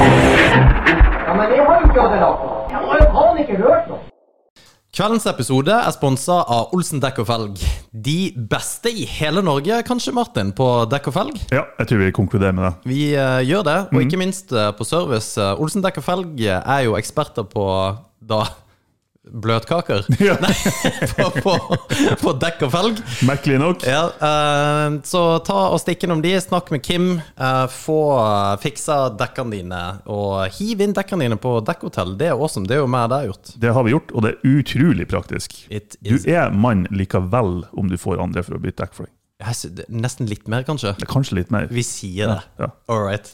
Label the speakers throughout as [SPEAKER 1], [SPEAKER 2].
[SPEAKER 1] Ja, men jeg har jo ikke hatt det nok. Jeg har jo faen ikke hørt noe.
[SPEAKER 2] Kveldens episode er sponsa av Olsen dekk og felg. De beste i hele Norge, kanskje, Martin, på dekk og felg?
[SPEAKER 3] Ja, jeg tror vi konkluderer med det.
[SPEAKER 2] Vi eh, gjør det, og ikke minst eh, på service. Eh, Olsen dekk og felg eh, er jo eksperter på da bløtkaker.
[SPEAKER 3] Ja.
[SPEAKER 2] Nei, på, på, på dekk og felg.
[SPEAKER 3] Merkelig nok.
[SPEAKER 2] Ja, eh, så ta og stikk innom de, snakk med Kim. eh, få eh, fiksa dekkene dine, og hiv inn dekkene dine på dekkhotell. Det er awesome. Det er jo meg det har gjort.
[SPEAKER 3] Det har vi gjort, og det er utrolig praktisk.
[SPEAKER 2] It
[SPEAKER 3] Du
[SPEAKER 2] is-
[SPEAKER 3] er mann likevel om du får andre for å bytte dekk for deg.
[SPEAKER 2] Jeg sy- det- Nesten litt mer, kanskje.
[SPEAKER 3] Det er Kanskje litt mer.
[SPEAKER 2] Vi sier det.
[SPEAKER 3] Ja.
[SPEAKER 2] All right.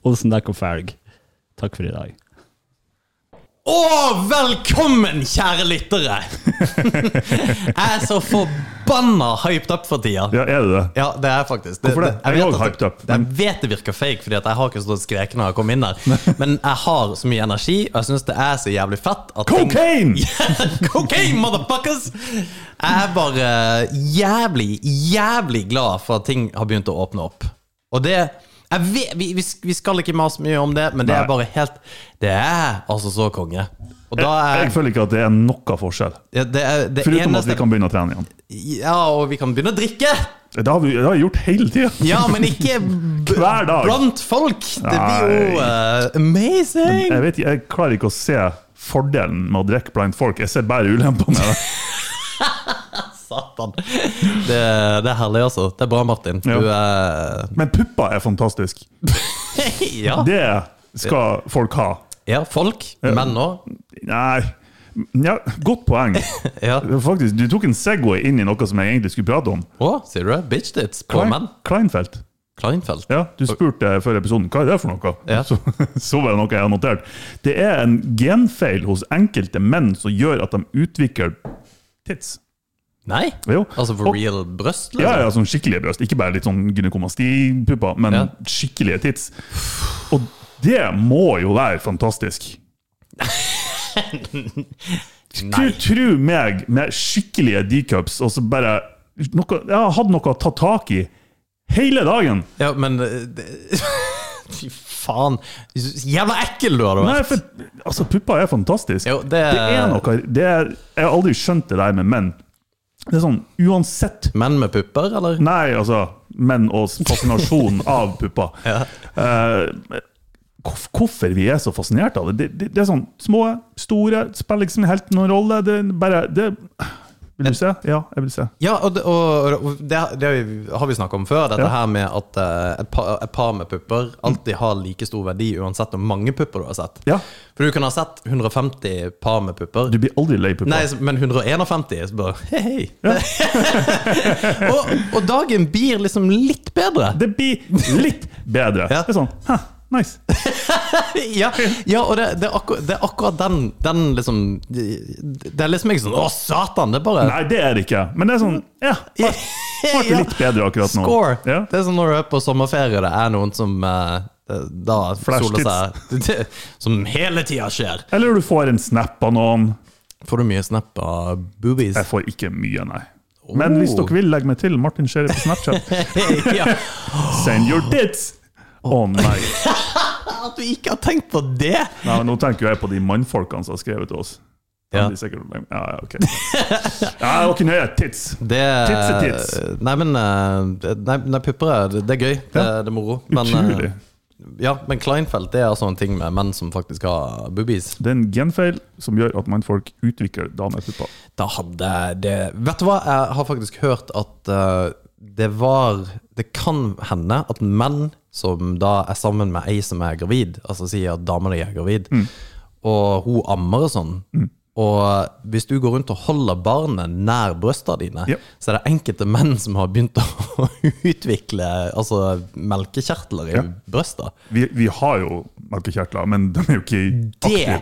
[SPEAKER 4] Olsen Dekk og Felg, takk for i dag.
[SPEAKER 2] Og velkommen, kjære lyttere! jeg er så forbanna hyped up for tida.
[SPEAKER 3] Ja, er det det?
[SPEAKER 2] Ja, det er jeg faktisk
[SPEAKER 3] Hvorfor det?
[SPEAKER 2] Jeg,
[SPEAKER 3] Jeg er
[SPEAKER 2] vet
[SPEAKER 3] også
[SPEAKER 2] at det-
[SPEAKER 3] hyped up,
[SPEAKER 2] jeg
[SPEAKER 3] men-
[SPEAKER 2] vet det virker fake, Fordi at jeg har ikke stått og skreket når jeg kom inn der. Men jeg har så mye energi, og jeg syns det er så jævlig fett at ting-
[SPEAKER 3] Cocaine!
[SPEAKER 2] Cocaine, motherfuckers! Jeg er bare jævlig, jævlig glad for at ting har begynt å åpne opp. Og det jeg vet, vi, vi sk- vi skal ikke mase mye om det, men det
[SPEAKER 3] Nei.
[SPEAKER 2] er bare helt Det er altså så konge. Og da
[SPEAKER 3] Jeg
[SPEAKER 2] er
[SPEAKER 3] føler ikke at det er noe forskjell,
[SPEAKER 2] ja, Det, er det
[SPEAKER 3] foruten at
[SPEAKER 2] eneste
[SPEAKER 3] vi kan begynne å trene igjen.
[SPEAKER 2] Ja, og vi kan begynne å drikke!
[SPEAKER 3] Det har vi det har jeg gjort hele tida.
[SPEAKER 2] Ja, men ikke b-
[SPEAKER 3] Hver dag.
[SPEAKER 2] blant folk! Det blir jo eh, amazing!
[SPEAKER 3] Jeg, vet ikke- jeg klarer ikke å se fordelen med å drikke blant folk. Jeg ser bare ulempene med det.
[SPEAKER 2] Satan. Det, det er herlig, altså. Det er bra, Martin. Du er
[SPEAKER 3] Men pupper er fantastisk.
[SPEAKER 2] Ja.
[SPEAKER 3] Det skal folk ha.
[SPEAKER 2] Ja, folk. Menn òg.
[SPEAKER 3] Nei ja, Godt poeng.
[SPEAKER 2] Ja.
[SPEAKER 3] Faktisk, Du tok en Segway inn i noe som jeg egentlig skulle prate om.
[SPEAKER 2] Å, sier du det? Bitch tits på menn.
[SPEAKER 3] Kleinfelt.
[SPEAKER 2] Kleinfeld.
[SPEAKER 3] Ja, Du spurte før episoden hva er det for noe.
[SPEAKER 2] Ja.
[SPEAKER 3] Så, så var det noe jeg har notert. Det er en genfeil hos enkelte menn som gjør at de utvikler tits.
[SPEAKER 2] Nei?
[SPEAKER 3] Jo.
[SPEAKER 2] Altså for
[SPEAKER 3] Og-
[SPEAKER 2] real brøst,
[SPEAKER 3] Ja, ja,
[SPEAKER 2] liksom?
[SPEAKER 3] sånn skikkelige bryst. Ikke bare litt sånn gynekomastipupper, men
[SPEAKER 2] Ja.
[SPEAKER 3] skikkelige tits. Og det må jo være fantastisk. Skulle tro meg med skikkelige D-cups og så bare noe, Jeg har hatt noe å ta tak i hele dagen.
[SPEAKER 2] Ja, men eh, det- Fy faen. Så Jævla ekkel du har
[SPEAKER 3] Nei,
[SPEAKER 2] vært.
[SPEAKER 3] for altså, pupper er fantastisk.
[SPEAKER 2] Jo, eh, det-
[SPEAKER 3] det er noe det er, Jeg har aldri skjønt det der med menn. Det er sånn uansett
[SPEAKER 2] Menn med pupper, eller?
[SPEAKER 3] Nei, altså Menn og fascinasjon av pupper. Eh, hvorf- hvorfor vi er så fascinert av det. Det, det, det er sånn små, store, spiller liksom helt noen rolle. Det er bare det, Vil du se? Ja, jeg vil se.
[SPEAKER 2] Ja, og det, og, og det, det har vi snakka om før, dette
[SPEAKER 3] Ja.
[SPEAKER 2] her med at eh, et, par, et par med pupper alltid har like stor verdi uansett hvor mange pupper du har sett.
[SPEAKER 3] Ja.
[SPEAKER 2] For du kan ha sett 150 par med pupper.
[SPEAKER 3] Du blir aldri lei pupper.
[SPEAKER 2] Nei, men 151 så bare hei, hei. og, og dagen blir liksom litt bedre.
[SPEAKER 3] Det blir litt bedre.
[SPEAKER 2] Ja.
[SPEAKER 3] Det er sånn Hæ, nice.
[SPEAKER 2] Ja, ja og det, det, er akkur, det er akkurat den, den liksom Det det er liksom ikke sånn Å, satan! Det er bare
[SPEAKER 3] Nei, det er det ikke. Men det er sånn Ja, ble det litt bedre akkurat nå.
[SPEAKER 2] Score!
[SPEAKER 3] Ja.
[SPEAKER 2] Det er som når du er på sommerferie, og det er noen som eh, da
[SPEAKER 3] Flash
[SPEAKER 2] soler seg det, Som hele tida skjer.
[SPEAKER 3] Eller du får en snap av noen.
[SPEAKER 2] Får du mye snap av boobies?
[SPEAKER 3] Jeg får ikke mye, nei. Men hvis
[SPEAKER 2] Oh.
[SPEAKER 3] dere vil legge meg til Martin Scherer på Snapchat,
[SPEAKER 2] ja,
[SPEAKER 3] send your tits! Å nei.
[SPEAKER 2] at du ikke har tenkt på det!
[SPEAKER 3] Nei, men Nå tenker jo jeg på de mannfolkene som har skrevet til oss. Ja.
[SPEAKER 2] Ja.
[SPEAKER 3] De sikkert, ja, ja, ok. Ja, det var ikke nøye. Tits!
[SPEAKER 2] Det,
[SPEAKER 3] Tits er tits.
[SPEAKER 2] Nei, men eh, Nei, nei pupper er det, det er gøy. Det,
[SPEAKER 3] Ja.
[SPEAKER 2] det er moro. Men, eh,
[SPEAKER 3] Utrolig.
[SPEAKER 2] ja, men Kleinfeld det er altså en ting med menn som faktisk har boobies.
[SPEAKER 3] Det er en genfeil som gjør at mannfolk utvikler damepupper.
[SPEAKER 2] Da hadde jeg det Vet du hva, jeg har faktisk hørt at eh, det var Det kan hende at menn som da er sammen
[SPEAKER 3] Mm.
[SPEAKER 2] med ei som er gravid, altså sier at dama di er gravid, og hun ammer og sånn, Og hvis du går rundt og holder barnet nær brøsta dine,
[SPEAKER 3] Ja.
[SPEAKER 2] så er det enkelte menn som har begynt å utvikle altså, melkekjertler i
[SPEAKER 3] Ja.
[SPEAKER 2] brøsta.
[SPEAKER 3] Vi, vi har jo melkekjertler, men de er jo ikke
[SPEAKER 2] Det,
[SPEAKER 3] aktive.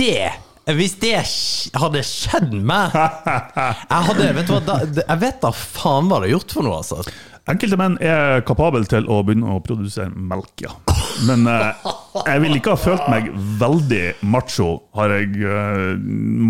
[SPEAKER 2] det Hvis det sk- hadde skjedd meg Jeg hadde, vet du hva, da, jeg vet da faen hva det har gjort for noe, altså.
[SPEAKER 3] Enkelte menn er kapable til å begynne å produsere melk, ja. Men eh, jeg ville ikke ha følt meg veldig macho har jeg eh,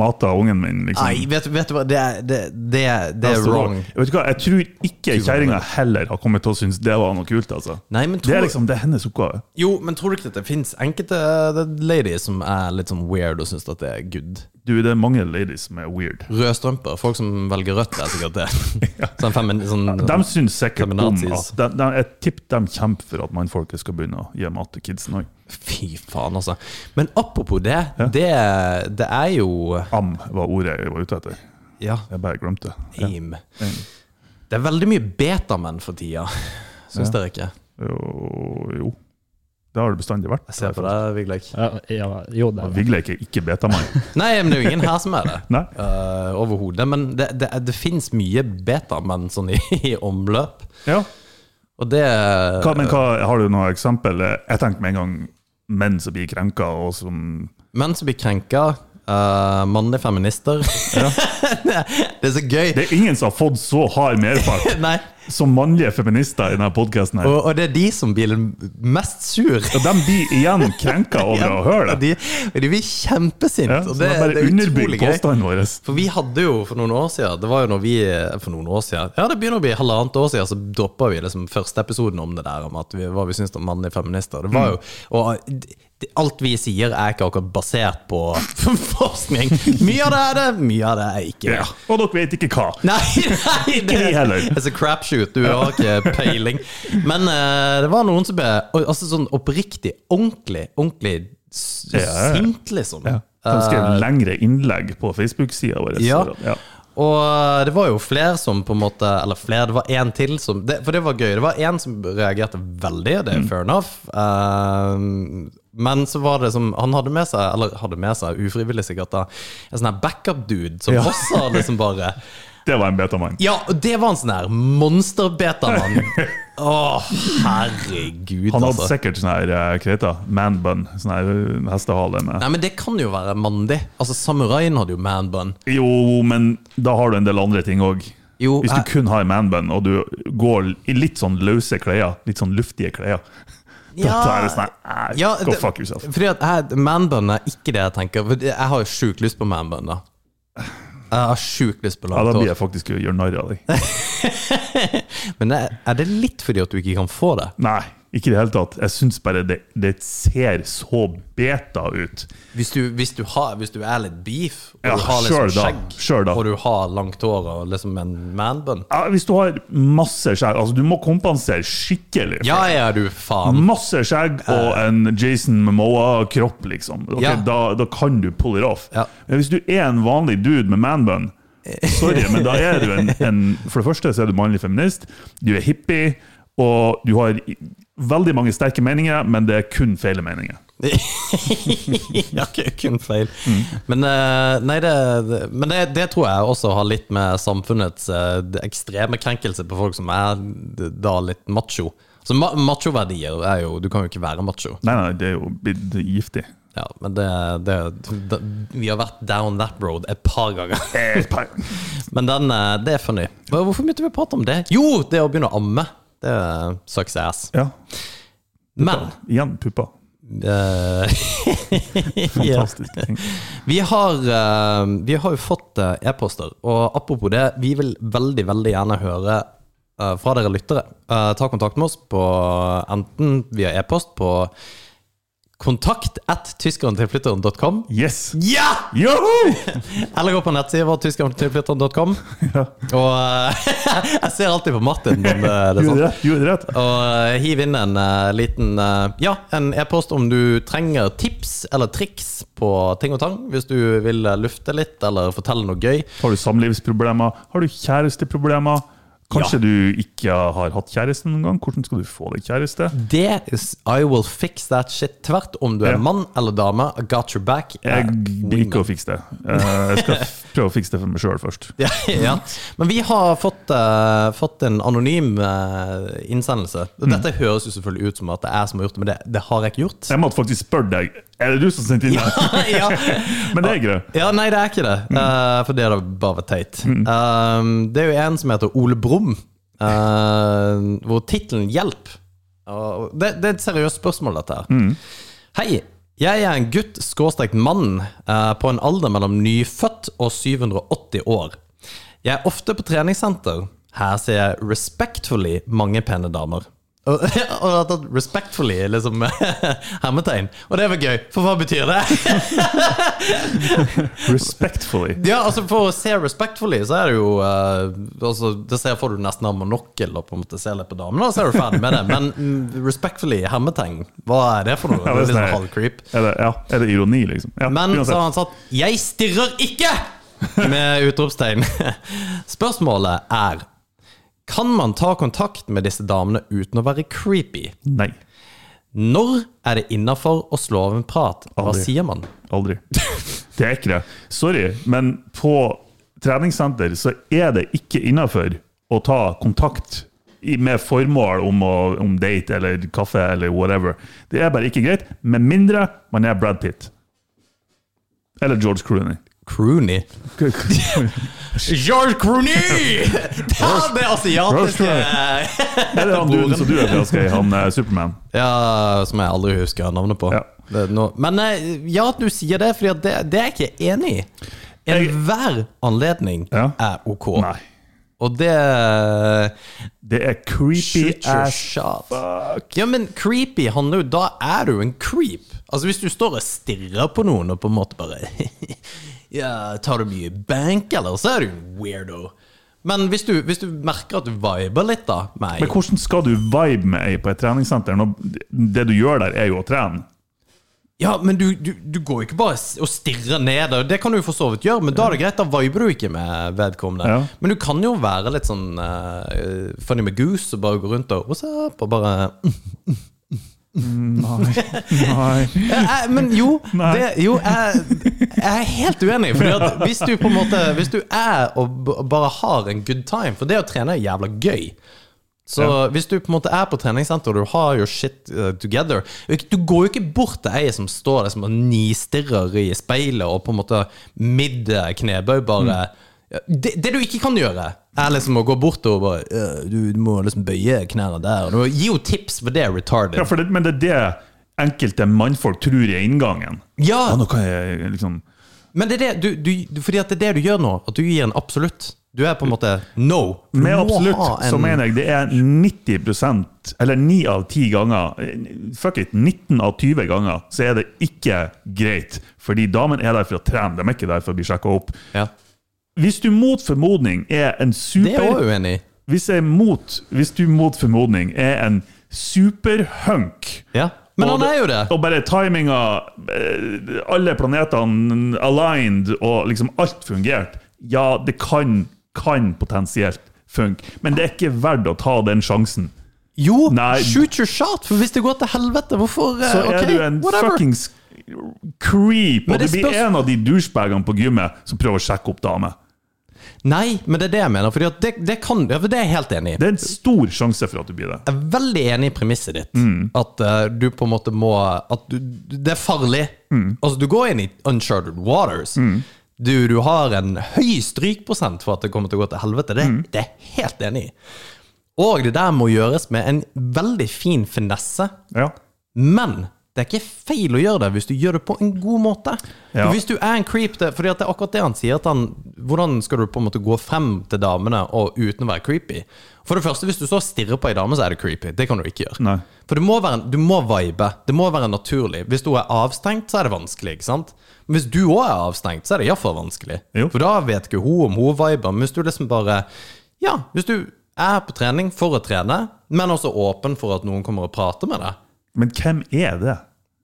[SPEAKER 3] mata ungen min, liksom.
[SPEAKER 2] Nei, vet, du- vet du hva, det, er- det, det, er- det er
[SPEAKER 3] Altså,
[SPEAKER 2] wrong.
[SPEAKER 3] Vet du hva, Jeg tror ikke kjerringa heller har kommet til å synes det var noe kult. altså.
[SPEAKER 2] Nei, men
[SPEAKER 3] Det
[SPEAKER 2] tror-
[SPEAKER 3] er liksom, det er hennes oppgave.
[SPEAKER 2] Jo, men tror du ikke at det fins enkelte eh, ladies som er litt sånn weird og syns at det er good?
[SPEAKER 3] Du, Det er mange ladies som er weird.
[SPEAKER 2] Røde strømper. Folk som velger rødt, er sikkert det. Sånn femin... Sånn,
[SPEAKER 3] De syns sikkert om at
[SPEAKER 2] Feminazis.
[SPEAKER 3] de, de, Jeg tipper de kjemper for at mannfolket skal begynne å gi mat til kidsen òg.
[SPEAKER 2] Fy faen, altså. Men apropos det, det, det er jo
[SPEAKER 3] Am var ordet jeg var ute etter.
[SPEAKER 2] Ja,
[SPEAKER 3] Jeg bare glemte det. Ja.
[SPEAKER 2] aim. Det er veldig mye betamenn for tida, syns dere ikke?
[SPEAKER 3] Jo, jo. Det har det bestandig vært.
[SPEAKER 2] Jeg ser på deg, Vigleik.
[SPEAKER 4] Ja, ja, jo, det er det.
[SPEAKER 3] Vigle er ikke, ikke betamann.
[SPEAKER 2] Nei, men det er jo ingen her som er det.
[SPEAKER 3] Nei.
[SPEAKER 2] Eh, Overhodet. Men det, det, det fins mye betamenn sånn i, i omløp,
[SPEAKER 3] Ja.
[SPEAKER 2] og det
[SPEAKER 3] Hva, men hva, har du noe eksempel? Jeg tenker med en gang menn som blir krenka, og som
[SPEAKER 2] Menn som blir krenka. eh, mannlige feminister. det er så gøy.
[SPEAKER 3] Det er ingen som har fått så hard merfart
[SPEAKER 2] Nei.
[SPEAKER 3] som mannlige feminister i denne podkasten her.
[SPEAKER 2] Og, og det er de som blir mest sur.
[SPEAKER 3] Og de blir igjen krenka over å høre
[SPEAKER 2] Og
[SPEAKER 3] det.
[SPEAKER 2] de, og de blir kjempesinte.
[SPEAKER 3] Ja,
[SPEAKER 2] og
[SPEAKER 3] så
[SPEAKER 2] det,
[SPEAKER 3] det er
[SPEAKER 2] det
[SPEAKER 3] bare
[SPEAKER 2] er
[SPEAKER 3] underbygg
[SPEAKER 2] utrolig gøy.
[SPEAKER 3] påstanden vår.
[SPEAKER 2] For vi hadde jo for noen år siden Det var jo når vi For noen år siden Ja, det begynner å bli halvannet år siden Så droppa vi liksom første episoden om det der Om at vi, hva vi syntes om mannlige feminister Det var jo Og d- alt vi sier er ikke akkurat basert på forskning Mye av det er det Mye av det er ikke det
[SPEAKER 3] Ja. Og dere vet ikke hva.
[SPEAKER 2] Nei, nei det
[SPEAKER 3] vi heller.
[SPEAKER 2] It's a crapshoot, du har ikke peiling. Men eh, det var noen som ble altså, sånn oppriktig, ordentlig, ordentlig s-
[SPEAKER 3] Ja, ja, ja.
[SPEAKER 2] sint, liksom.
[SPEAKER 3] Ja. De skrev lengre innlegg på Facebook-sida vår.
[SPEAKER 2] Ja.
[SPEAKER 3] så- Ja.
[SPEAKER 2] Og det var jo flere som på en måte Eller flere, det var én til som det, For det var gøy. Det var én som reagerte veldig, og det
[SPEAKER 3] Mm.
[SPEAKER 2] er fair enough. Ehm, men så var det som Han hadde med seg, eller hadde med seg ufrivillig sikkert, da, en sånn her backup-dude som også hadde liksom bare
[SPEAKER 3] Det var en betamann.
[SPEAKER 2] Ja, og det var en sånn her monsterbetamann. Å, herregud,
[SPEAKER 3] Han hadde
[SPEAKER 2] altså.
[SPEAKER 3] sikkert sånn her eh, hva heter det? man bun, sånn her eh, hestehale med
[SPEAKER 2] Nei, men det kan jo være mandig. Altså, Samuraien hadde jo man bun.
[SPEAKER 3] Jo, men da har du en del andre ting òg.
[SPEAKER 2] Jo,
[SPEAKER 3] Hvis du
[SPEAKER 2] jeg-
[SPEAKER 3] kun har man bun, og du går i litt sånn løse klær, litt sånn luftige klær, da
[SPEAKER 2] Ja.
[SPEAKER 3] da er det sånn her, eh,
[SPEAKER 2] Ja,
[SPEAKER 3] Go
[SPEAKER 2] det-
[SPEAKER 3] fuck yourself.
[SPEAKER 2] Fordi at jeg, man bun er ikke det jeg tenker. For det- Jeg har jo sjukt lyst på man bun, da. Jeg har sjukt lyst på
[SPEAKER 3] Ja, da
[SPEAKER 2] langt
[SPEAKER 3] blir
[SPEAKER 2] hår.
[SPEAKER 3] jeg faktisk å gjøre narr av deg.
[SPEAKER 2] Men det, er det litt fordi at du ikke kan få det?
[SPEAKER 3] Nei, ikke i det hele tatt. Jeg syns bare det, det ser så beta ut.
[SPEAKER 2] Hvis du, hvis du, har, hvis du er litt beef, og
[SPEAKER 3] Ja,
[SPEAKER 2] du har liksom
[SPEAKER 3] sure da,
[SPEAKER 2] skjegg,
[SPEAKER 3] sure da.
[SPEAKER 2] og du har langt hår og liksom en man bun
[SPEAKER 3] Ja, hvis du har masse skjær, altså du må kompensere skikkelig. for
[SPEAKER 2] Ja, ja, du faen.
[SPEAKER 3] Masse skjegg og en Jason Momoa-kropp, liksom. Ok,
[SPEAKER 2] Eh. Ja.
[SPEAKER 3] da, da kan du pull it off.
[SPEAKER 2] Ja.
[SPEAKER 3] Men hvis du er en vanlig dude med manbun Sorry, men da er du en, en For det første så er du mannlig feminist, du er hippie, og du har i- veldig mange sterke meninger, men det er kun feile meninger.
[SPEAKER 2] ja, kun- kun feil. Men, eh, nei, det, det- men det, det tror jeg også har litt med samfunnets eh, det ekstreme krenkelse på folk som er da litt macho. Så ma machoverdier er jo Du kan jo ikke være macho.
[SPEAKER 3] Nei, nei, det er jo blitt giftig.
[SPEAKER 2] Ja, men det, det, det Vi har vært down that road et par ganger.
[SPEAKER 3] Eh, pa-
[SPEAKER 2] Men den, eh, det er funny. Hva- Hvorfor begynte vi å prate om det? Jo, det å begynne å amme. Det er success.
[SPEAKER 3] Ja,
[SPEAKER 2] Men
[SPEAKER 3] igjen pupper.
[SPEAKER 2] eh, ja.
[SPEAKER 3] Fantastisk ting.
[SPEAKER 2] Vi har, eh, vi har jo fått eh, e-poster, og apropos det, vi vil veldig, veldig gjerne høre eh, fra dere lyttere. Eh, ta kontakt med oss på enten via e-post på kontakt at tyskerentilflytteren.com.
[SPEAKER 3] Yes!
[SPEAKER 2] Ja!
[SPEAKER 3] Joho!
[SPEAKER 2] Eller gå på nettsiden vår, tyskerentilflytteren.com. Og eh, jeg ser alltid på Martin, men eh, det er
[SPEAKER 3] Gjorde
[SPEAKER 2] sant.
[SPEAKER 3] rett, gjorde rett.
[SPEAKER 2] Og eh, hiv inn en eh, liten eh, Ja, en e-post om du trenger tips eller triks på ting og tang. Hvis du vil eh, lufte litt eller fortelle noe gøy.
[SPEAKER 3] Har du samlivsproblemer? Har du kjæresteproblemer? Kanskje du ikke har hatt kjæreste noen gang? Hvordan skal du få deg kjæreste?
[SPEAKER 2] Det is I will fix that shit. Tvert om du er
[SPEAKER 3] Ja.
[SPEAKER 2] mann eller dame. I got your back. Eh,
[SPEAKER 3] Jeg vil ikke å fikse det. Eh, Jeg skal f- prøve å fikse det for meg sjøl først.
[SPEAKER 2] ja, ja. Men vi har fått, eh, fått en anonym eh, innsendelse.
[SPEAKER 3] Mm.
[SPEAKER 2] Dette høres jo selvfølgelig ut som at det er jeg som har gjort det, men det, det har jeg ikke gjort.
[SPEAKER 3] Jeg måtte faktisk spørre deg. Er det du som sendte inn det?
[SPEAKER 2] ja.
[SPEAKER 3] Men det er ikke det.
[SPEAKER 2] ja, nei, det er ikke det. eh, for det hadde bare vært teit. Um, det er jo en som heter Ole Brumm, eh, hvor tittelen 'Hjelp' og det, det er et seriøst spørsmål, dette her. Hei. Jeg er en gutt, skråstrekt mann, eh, på en alder mellom nyfødt og 780 år. Jeg er ofte på treningssenter. Her ser jeg respectfully mange pene damer. Og, og at at 'respectfully' er liksom hermetegn. Og det er vel gøy, for hva betyr det?
[SPEAKER 3] Respectfully.
[SPEAKER 2] Ja, altså For å se 'respectfully', så er det jo eh, altså, Det ser får du nesten av monokkel og på en måte ser litt på damene, og så er du ferdig med det. Men mm, 'respectfully' hermetegn, hva er det for noe?
[SPEAKER 3] Ja,
[SPEAKER 2] det er
[SPEAKER 3] det
[SPEAKER 2] liksom
[SPEAKER 3] ser jeg.
[SPEAKER 2] halvcreep.
[SPEAKER 3] Er det, ja, er det ironi, liksom? Ja,
[SPEAKER 2] Men sånn så
[SPEAKER 3] uansett.
[SPEAKER 2] har han satt 'Jeg stirrer ikke!' med utropstegn. Spørsmålet er Kan man ta kontakt med disse damene uten å være creepy?
[SPEAKER 3] Nei.
[SPEAKER 2] Når er det innafor å slå av en prat? Hva
[SPEAKER 3] Aldri.
[SPEAKER 2] sier man?
[SPEAKER 3] Aldri. Det er ikke det. Sorry, men på treningssenter så er det ikke innafor å ta kontakt i- med formål om, å, om date eller kaffe eller whatever. Det er bare ikke greit, med mindre man er Brad Pitt. Eller George Clooney.
[SPEAKER 2] Croony. George Croony! Ta det
[SPEAKER 3] George
[SPEAKER 2] asiatiske
[SPEAKER 3] Er det han duden som du er forelska i? Han eh, Superman?
[SPEAKER 2] Ja, som jeg aldri husker navnet på.
[SPEAKER 3] Ja.
[SPEAKER 2] Det er nå- Men eh, ja, at du sier det, for det, det er jeg ikke enig i. Enhver anledning
[SPEAKER 3] Ja.
[SPEAKER 2] er ok.
[SPEAKER 3] Nei.
[SPEAKER 2] Og eh, det
[SPEAKER 3] Det er creepy
[SPEAKER 2] Shoot your
[SPEAKER 3] ass
[SPEAKER 2] shot. eh, Ja, men creepy handler jo Da er du en creep. Altså Hvis du står og stirrer på noen og på en måte bare Ja, tar du mye bank, eller? Så er du en weirdo. Men hvis du, hvis du merker at du viber litt, da med ei
[SPEAKER 3] Men hvordan skal du vibe med ei på et treningssenter når det du gjør der, er jo å trene?
[SPEAKER 2] Ja, men du, du, du går jo ikke bare s- og stirrer ned. og Det kan du jo for så vidt gjøre, men da er det greit. Da viber du ikke med vedkommende.
[SPEAKER 3] Ja.
[SPEAKER 2] Men du kan jo være litt sånn eh, funny med goose og bare gå rundt og What's up? Og bare mm.
[SPEAKER 3] Nei.
[SPEAKER 2] Eh, eh, Men jo,
[SPEAKER 3] Nei.
[SPEAKER 2] det, jo jeg, jeg er helt uenig. Fordi at hvis du på en måte Hvis du er og b- bare har en good time For det å trene er jævla gøy. Så hvis du på en måte er på treningssenter og du har your shit eh, together Du går jo ikke bort til ei som står der som og nistirrer i speilet og på en måte midd knebøy bare
[SPEAKER 3] Mm.
[SPEAKER 2] det, det du ikke kan gjøre, er liksom å gå bort og bare eh, Du må liksom bøye knærne der. Du må- Gi jo tips, for det er retarded.
[SPEAKER 3] Ja, for det, men det er det enkelte mannfolk tror er inngangen.
[SPEAKER 2] Ja.
[SPEAKER 3] nå kan jeg liksom
[SPEAKER 2] Men det er det du, du, fordi at det er det du gjør nå, at du gir en absolutt. Du er på en måte no. Du
[SPEAKER 3] Med
[SPEAKER 2] må
[SPEAKER 3] absolutt
[SPEAKER 2] ha en-
[SPEAKER 3] så mener jeg det er 90 eller 9 av 10 ganger eh, Fuck it, 19 av 20 ganger så er det ikke greit. Fordi damen er der for å trene, de er ikke der for å bli sjekka opp.
[SPEAKER 2] ja.
[SPEAKER 3] Hvis du mot formodning er en
[SPEAKER 2] Det er jeg
[SPEAKER 3] super
[SPEAKER 2] også uenig i.
[SPEAKER 3] hvis, jeg mot, hvis du mot formodning er en superhunk
[SPEAKER 2] Ja. Men
[SPEAKER 3] Og
[SPEAKER 2] han er jo det.
[SPEAKER 3] Og bare timinga, eh, alle planetene aligned, og liksom alt fungert. Ja, det kan, kan potensielt funke, men det er ikke verdt å ta den sjansen.
[SPEAKER 2] Jo,
[SPEAKER 3] Nei.
[SPEAKER 2] shoot your shot! For hvis det går til helvete, hvorfor eh,
[SPEAKER 3] Så er
[SPEAKER 2] ok,
[SPEAKER 3] du en
[SPEAKER 2] whatever.
[SPEAKER 3] fuckings creep,
[SPEAKER 2] Men
[SPEAKER 3] og
[SPEAKER 2] det
[SPEAKER 3] du blir
[SPEAKER 2] spørs-
[SPEAKER 3] en av de douchebagene på gymmet som prøver å sjekke opp damer.
[SPEAKER 2] Nei, men det er det jeg mener. Fordi at det, det kan ja, for Det er jeg helt enig i.
[SPEAKER 3] Det er en stor sjanse for at du blir det.
[SPEAKER 2] Jeg er veldig enig i premisset ditt. At eh, du på en måte må At du, det er farlig. Altså, du går inn i uncharted waters. Du, du har en høy strykprosent for at det kommer til å gå til helvete. Det, det er jeg helt enig i. Og det der må gjøres med en veldig fin finesse.
[SPEAKER 3] Ja.
[SPEAKER 2] Men det er ikke feil å gjøre det hvis du gjør det på en god måte.
[SPEAKER 3] Ja.
[SPEAKER 2] For Hvis du er en creep det, fordi at det er akkurat det han sier. At han, hvordan skal du på en måte gå frem til damene og uten å være creepy? For det første, Hvis du så stirrer på ei dame, så er det creepy. Det kan du ikke gjøre.
[SPEAKER 3] Nei.
[SPEAKER 2] For det må være, du må vibe. Det må være naturlig. Hvis du er avstengt, så er det vanskelig. ikke sant? Men hvis du òg er avstengt, så er det iallfall vanskelig.
[SPEAKER 3] Jo.
[SPEAKER 2] For da vet ikke hun om hun viber. Men hvis du liksom bare Ja, hvis du er på trening for å trene, men også åpen for at noen kommer og prater med deg.
[SPEAKER 3] Men hvem er det?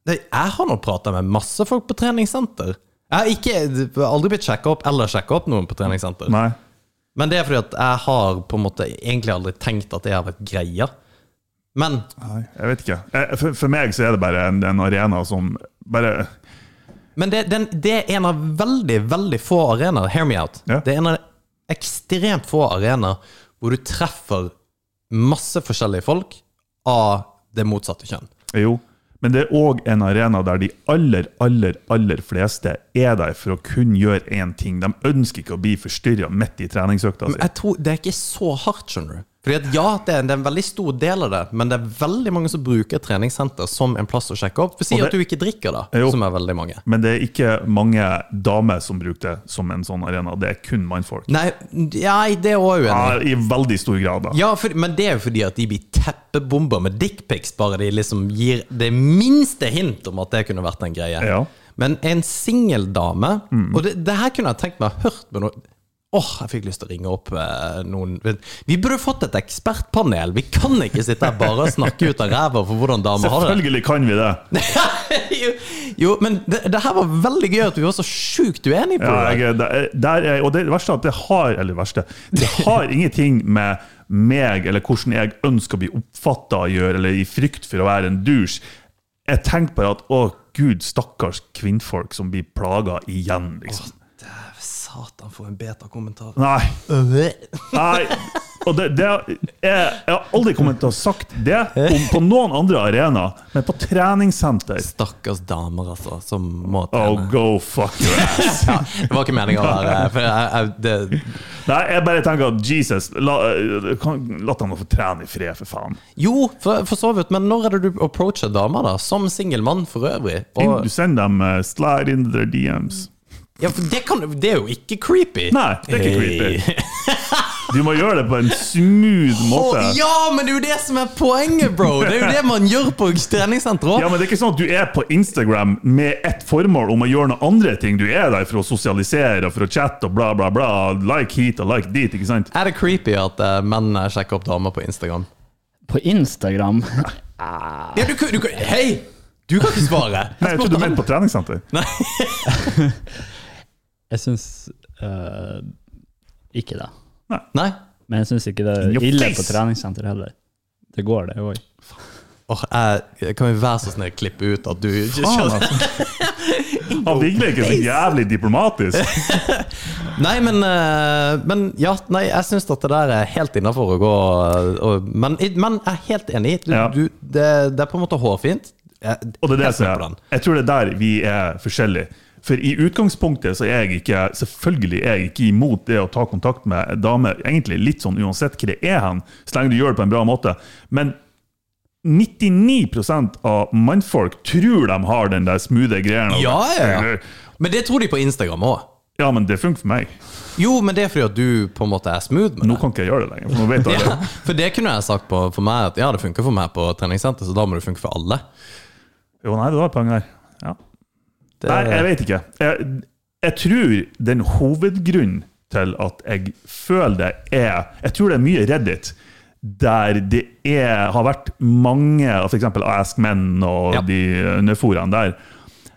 [SPEAKER 2] Nei, jeg har nå prata med masse folk på treningssenter. Jeg har ikke, aldri blitt sjekka opp eller sjekka opp noen på treningssenter.
[SPEAKER 3] Nei.
[SPEAKER 2] Men det er fordi at jeg har på en måte egentlig aldri tenkt at det har vært greia. Men
[SPEAKER 3] Nei, jeg vet ikke. Jeg, for, for meg så er det bare en, en arena som bare
[SPEAKER 2] Men det, den, det er en av veldig, veldig få arenaer. Hear me out.
[SPEAKER 3] Ja.
[SPEAKER 2] Det er en av ekstremt få arenaer hvor du treffer masse forskjellige folk av det motsatte kjønn.
[SPEAKER 3] Jo. Men det er òg en arena der de aller, aller, aller fleste er der for å kun gjøre én ting. De ønsker ikke å bli forstyrra midt i treningsøkta
[SPEAKER 2] Men
[SPEAKER 3] si.
[SPEAKER 2] jeg tror det er ikke så hardt, skjønner du. Fordi at ja, det er, det er en veldig stor del av det, men det er veldig mange som bruker et treningssenter som en plass å sjekke opp. For si
[SPEAKER 3] Og det-
[SPEAKER 2] at du ikke drikker, da,
[SPEAKER 3] Jo.
[SPEAKER 2] som er veldig mange.
[SPEAKER 3] Men det er ikke mange damer som bruker det som en sånn arena. Det er kun mannfolk.
[SPEAKER 2] Nei, nei det er òg uenig.
[SPEAKER 3] Ja, I veldig stor grad, da.
[SPEAKER 2] Ja, for, men det er jo fordi at de blir teppebomba med dickpics, bare de liksom gir det minste hint om at det kunne vært en greie.
[SPEAKER 3] Ja. Mm.
[SPEAKER 2] Men en singel dame Og det, det her kunne jeg tenkt meg å hørt med noen Åh, jeg fikk lyst til å ringe opp eh, noen Vi burde fått et ekspertpanel! Vi kan ikke sitte her bare og snakke ut av ræva for hvordan damer har det.
[SPEAKER 3] Selvfølgelig kan vi det.
[SPEAKER 2] jo, jo, men det, det her var veldig gøy at vi var så sjukt uenige på
[SPEAKER 3] Ja,
[SPEAKER 2] det.
[SPEAKER 3] jeg, der, Eh, der er, og det verste er at det har Eller verste Det har ingenting med meg eller hvordan jeg ønsker å bli oppfatta å gjøre, eller i frykt for å være en douche. Jeg tenker bare at å, gud, stakkars kvinnfolk som blir plaga igjen, liksom.
[SPEAKER 2] Satan, for en beta-kommentar.
[SPEAKER 3] Nei.
[SPEAKER 2] Nei,
[SPEAKER 3] nei. Og det, det er, jeg, jeg har aldri kommet til å ha sagt det om, på noen andre arenaer, men på treningssenter
[SPEAKER 2] Stakkars damer, altså, som må
[SPEAKER 3] Oh,
[SPEAKER 2] trene.
[SPEAKER 3] go fuck your ass.
[SPEAKER 2] Ja, det var ikke meninga å være for jeg, jeg, det,
[SPEAKER 3] Nei, jeg bare tenker at Jesus, la, eh, kan, la dem få trene i fred, for faen.
[SPEAKER 2] Jo, for, for så vidt, men når er det du approacher damer, da? Som singel mann for øvrig?
[SPEAKER 3] Inn-
[SPEAKER 2] Og,
[SPEAKER 3] Du sender dem eh, slide into their DMs.
[SPEAKER 2] ja, for det, kan, det er jo ikke creepy.
[SPEAKER 3] Nei, det er ikke creepy. Du må gjøre det på en smooth
[SPEAKER 2] Å,
[SPEAKER 3] måte.
[SPEAKER 2] ja, men det er jo det som er poenget, bro! Det er jo det man gjør på treningssenteret
[SPEAKER 3] Ja, men det er ikke sånn at du er på Instagram med ett formål om å gjøre noen andre ting. Du er der for å sosialisere og for å chatte og bla, bla, bla. Like hit og like dit, ikke sant?
[SPEAKER 2] Er det creepy at eh, menn eh, sjekker opp damer på Instagram?
[SPEAKER 4] På Instagram
[SPEAKER 2] Ja, du, kan- du, kan- hei! Du kan ikke svare!
[SPEAKER 3] Nei, jeg trodde du mente på treningssenter.
[SPEAKER 4] Jeg syns eh, ikke det.
[SPEAKER 2] Nei?
[SPEAKER 4] Men jeg syns ikke det
[SPEAKER 3] In
[SPEAKER 4] er
[SPEAKER 3] your
[SPEAKER 4] ille
[SPEAKER 3] face!
[SPEAKER 4] på treningssenter heller. Det går, det òg.
[SPEAKER 2] Åh, jeg, kan vi være så snill å klippe ut at du
[SPEAKER 3] Faen, altså. Han virker ikke så jævlig diplomatisk.
[SPEAKER 2] Nei, men, eh, men ja, nei, jeg syns at det der er helt innafor å gå eh, og, men, men jeg er helt enig. Du,
[SPEAKER 3] Ja.
[SPEAKER 2] du, det, det er på en måte hårfint. Jeg-
[SPEAKER 3] Og det er det
[SPEAKER 2] helt
[SPEAKER 3] som
[SPEAKER 2] med
[SPEAKER 3] er
[SPEAKER 2] på den.
[SPEAKER 3] Jeg tror det er der vi er forskjellige. For i utgangspunktet så er jeg ikke selvfølgelig er jeg ikke imot det å ta kontakt med en dame, egentlig litt sånn uansett hva det er hen, så lenge du gjør det på en bra måte. Men 99 av mannfolk tror de har den der smoothe greia.
[SPEAKER 2] Ja, ja, ja. Men det tror de på Instagram òg.
[SPEAKER 3] Ja, men det funker for meg.
[SPEAKER 2] Jo, men det er fordi at du på en måte er smooth med
[SPEAKER 3] Nå
[SPEAKER 2] det.
[SPEAKER 3] kan ikke jeg gjøre det lenger. For nå vet jeg
[SPEAKER 2] Ja,
[SPEAKER 3] det.
[SPEAKER 2] for det kunne jeg sagt på, for meg at ja, det funker for meg på treningssenter, så da må det funke for alle.
[SPEAKER 3] Jo, nei, det var et poeng der. Ja.
[SPEAKER 2] Det,
[SPEAKER 3] Nei, jeg vet ikke. Jeg, jeg tror den hovedgrunnen til at jeg føler det er Jeg tror det er mye Reddit, der det er, har vært mange av f.eks. Ask Men og
[SPEAKER 2] Ja.
[SPEAKER 3] de nødforaene der,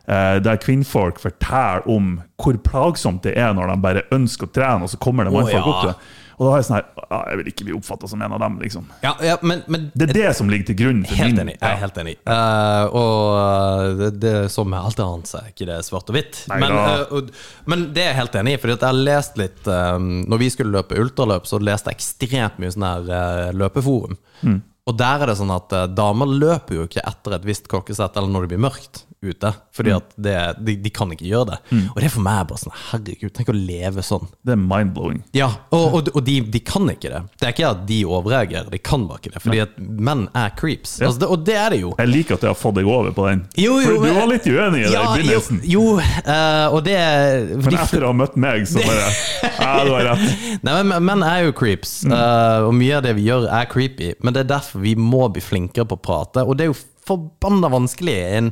[SPEAKER 3] eh, der kvinnfolk forteller om hvor plagsomt det er når de bare ønsker å trene, og så kommer det mannfolk
[SPEAKER 2] ja.
[SPEAKER 3] opp til det. Og da har jeg sånn her «Ah, Jeg vil ikke bli oppfatta som en av dem, liksom.
[SPEAKER 2] ja, ja, men, men
[SPEAKER 3] Det er det som ligger til grunn for
[SPEAKER 2] Helt
[SPEAKER 3] min
[SPEAKER 2] enig. Jeg er helt enig. Eh, og eh, det, det er som med alt annet, så er ikke det svart og hvitt.
[SPEAKER 3] Nei
[SPEAKER 2] Men,
[SPEAKER 3] da.
[SPEAKER 2] eh, og, men det er jeg helt enig i, for jeg har lest litt eh, Når vi skulle løpe ultraløp, så leste jeg ekstremt mye sånn her eh, løpeforum.
[SPEAKER 3] Mm.
[SPEAKER 2] Og der er det sånn at eh, damer løper jo ikke etter et visst klokkesett eller når det blir mørkt ute. Fordi
[SPEAKER 3] Mm.
[SPEAKER 2] at det, de, de kan ikke gjøre det. Og det er for meg bare sånn Herregud, tenk å leve sånn.
[SPEAKER 3] Det er mind-blowing.
[SPEAKER 2] Ja, og, og, og de, de kan ikke det. Det er ikke at de overreagerer, de kan bare ikke det. Fordi at menn er creeps. Altså, det, og det er det jo.
[SPEAKER 3] Jeg liker at jeg har fått deg over på den.
[SPEAKER 2] Jo, jo,
[SPEAKER 3] For du
[SPEAKER 2] men-
[SPEAKER 3] var litt uenig i det
[SPEAKER 2] Ja,
[SPEAKER 3] i begynnelsen.
[SPEAKER 2] Jo, jo eh, og det
[SPEAKER 3] Men
[SPEAKER 2] de,
[SPEAKER 3] etter å ha møtt meg, så bare Ja, du har rett.
[SPEAKER 2] Nei, men Menn er jo creeps,
[SPEAKER 3] Mm.
[SPEAKER 2] eh, og mye av det vi gjør, er creepy. Men det er derfor vi må bli flinkere på å prate. Og det er jo forbanna vanskelig i en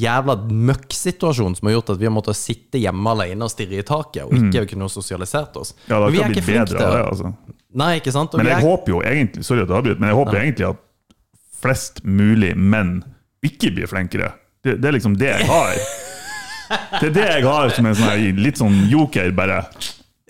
[SPEAKER 2] jævla møkksituasjon som har gjort at vi har måttet sitte hjemme alene og stirre i taket, og ikke kunne sosialisert oss.
[SPEAKER 3] Mm. Ja, det
[SPEAKER 2] Og
[SPEAKER 3] har
[SPEAKER 2] vi er
[SPEAKER 3] ikke
[SPEAKER 2] ikke
[SPEAKER 3] blitt
[SPEAKER 2] flinke
[SPEAKER 3] bedre av det,
[SPEAKER 2] til
[SPEAKER 3] altså.
[SPEAKER 2] Nei, ikke sant? Og
[SPEAKER 3] Men
[SPEAKER 2] vi
[SPEAKER 3] jeg
[SPEAKER 2] er-
[SPEAKER 3] håper jo egentlig Sorry at jeg avbryter, men jeg håper egentlig at flest mulig menn ikke blir flinkere. Det, det er liksom det jeg har. Det er det jeg har som en sånn her, litt sånn joker, bare.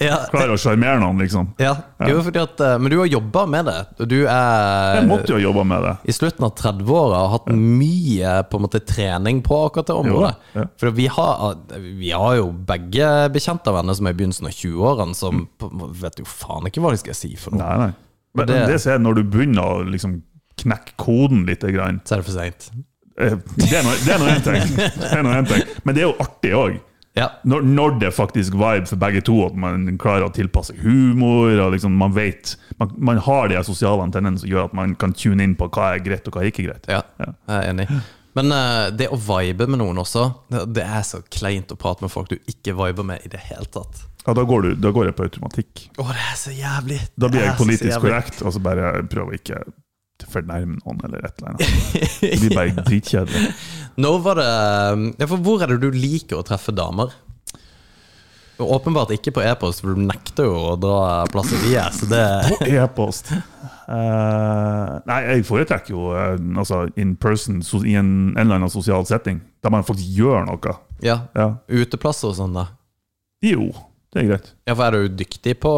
[SPEAKER 2] Ja,
[SPEAKER 3] Klarer å sjarmere noen, liksom.
[SPEAKER 2] ja. Jo, fordi at, eh, men du har jobba med det. Og du er
[SPEAKER 3] Jeg måtte jo jobbe med det.
[SPEAKER 2] i slutten av 30-åra har hatt mye på en måte, trening på akkurat det området.
[SPEAKER 3] Jo, ja.
[SPEAKER 2] For vi har, ah, vi har jo begge bekjente venner som er i begynnelsen av 20-årene, som på- vet jo faen ikke hva de skal si for noe.
[SPEAKER 3] Mm. Nei, nei. Men det,
[SPEAKER 2] det-
[SPEAKER 3] som er når du begynner å liksom knekke koden litt grann.
[SPEAKER 2] Så er det for seint.
[SPEAKER 3] eh, Det er nå- det er nå én ting. Det er nå en ting. Men det er jo artig òg.
[SPEAKER 2] Ja.
[SPEAKER 3] Når, når det er faktisk vibe for begge to, at man klarer å tilpasse humor og liksom man vet Man, man har de her sosiale antennene som gjør at man kan tune inn på hva er greit og hva er ikke greit.
[SPEAKER 2] Ja, jeg er enig. Men eh, det å vibe med noen også, det, det er så kleint å prate med folk du ikke viber med i det hele tatt.
[SPEAKER 3] Ja, da, går du, da går jeg på automatikk.
[SPEAKER 2] Å, det er så jævlig!
[SPEAKER 3] Da
[SPEAKER 2] Det
[SPEAKER 3] blir
[SPEAKER 2] er
[SPEAKER 3] jeg
[SPEAKER 2] så
[SPEAKER 3] politisk
[SPEAKER 2] jævlig.
[SPEAKER 3] korrekt, og så bare prøver jeg ikke å fornærme noen eller et eller annet. Det blir bare dritkjedelig.
[SPEAKER 2] Når var det um, ja, for Hvor er det du liker å treffe damer? Og Åpenbart ikke på e-post, for du nekter jo å dra plasser de er. Så det
[SPEAKER 3] E-post. Eh, nei, jeg foretrekker jo eh, altså in person so, i en, en eller annen sosial setting, der man faktisk gjør noe.
[SPEAKER 2] Ja.
[SPEAKER 3] Ja.
[SPEAKER 2] Uteplasser og sånn, da.
[SPEAKER 3] Jo, det er greit.
[SPEAKER 2] Ja, for er du dyktig på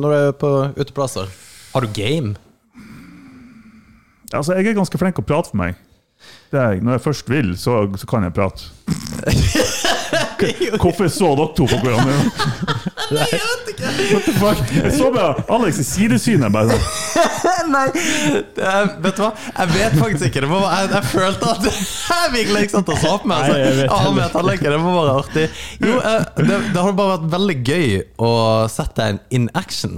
[SPEAKER 2] når du er på uteplasser? Har du game?
[SPEAKER 3] Altså, jeg er ganske flink å prate for meg. Det er jeg. Når jeg først vil, så, så kan jeg prate. Hvorfor så dere to på hverandre? What the fuck? Jeg så bare Alex i sidesynet. bare sånn.
[SPEAKER 2] Nei, det er, vet du hva? Jeg vet faktisk ikke. Det var, bare- jeg, jeg følte at jeg sånn virkelig ikke satt og sa på meg.
[SPEAKER 4] Nei, jeg
[SPEAKER 2] Altså.
[SPEAKER 4] vet
[SPEAKER 2] Ja, men jeg teller ikke. Det var bare artig. Jo, eh, det, det hadde bare vært veldig gøy å sette en in action.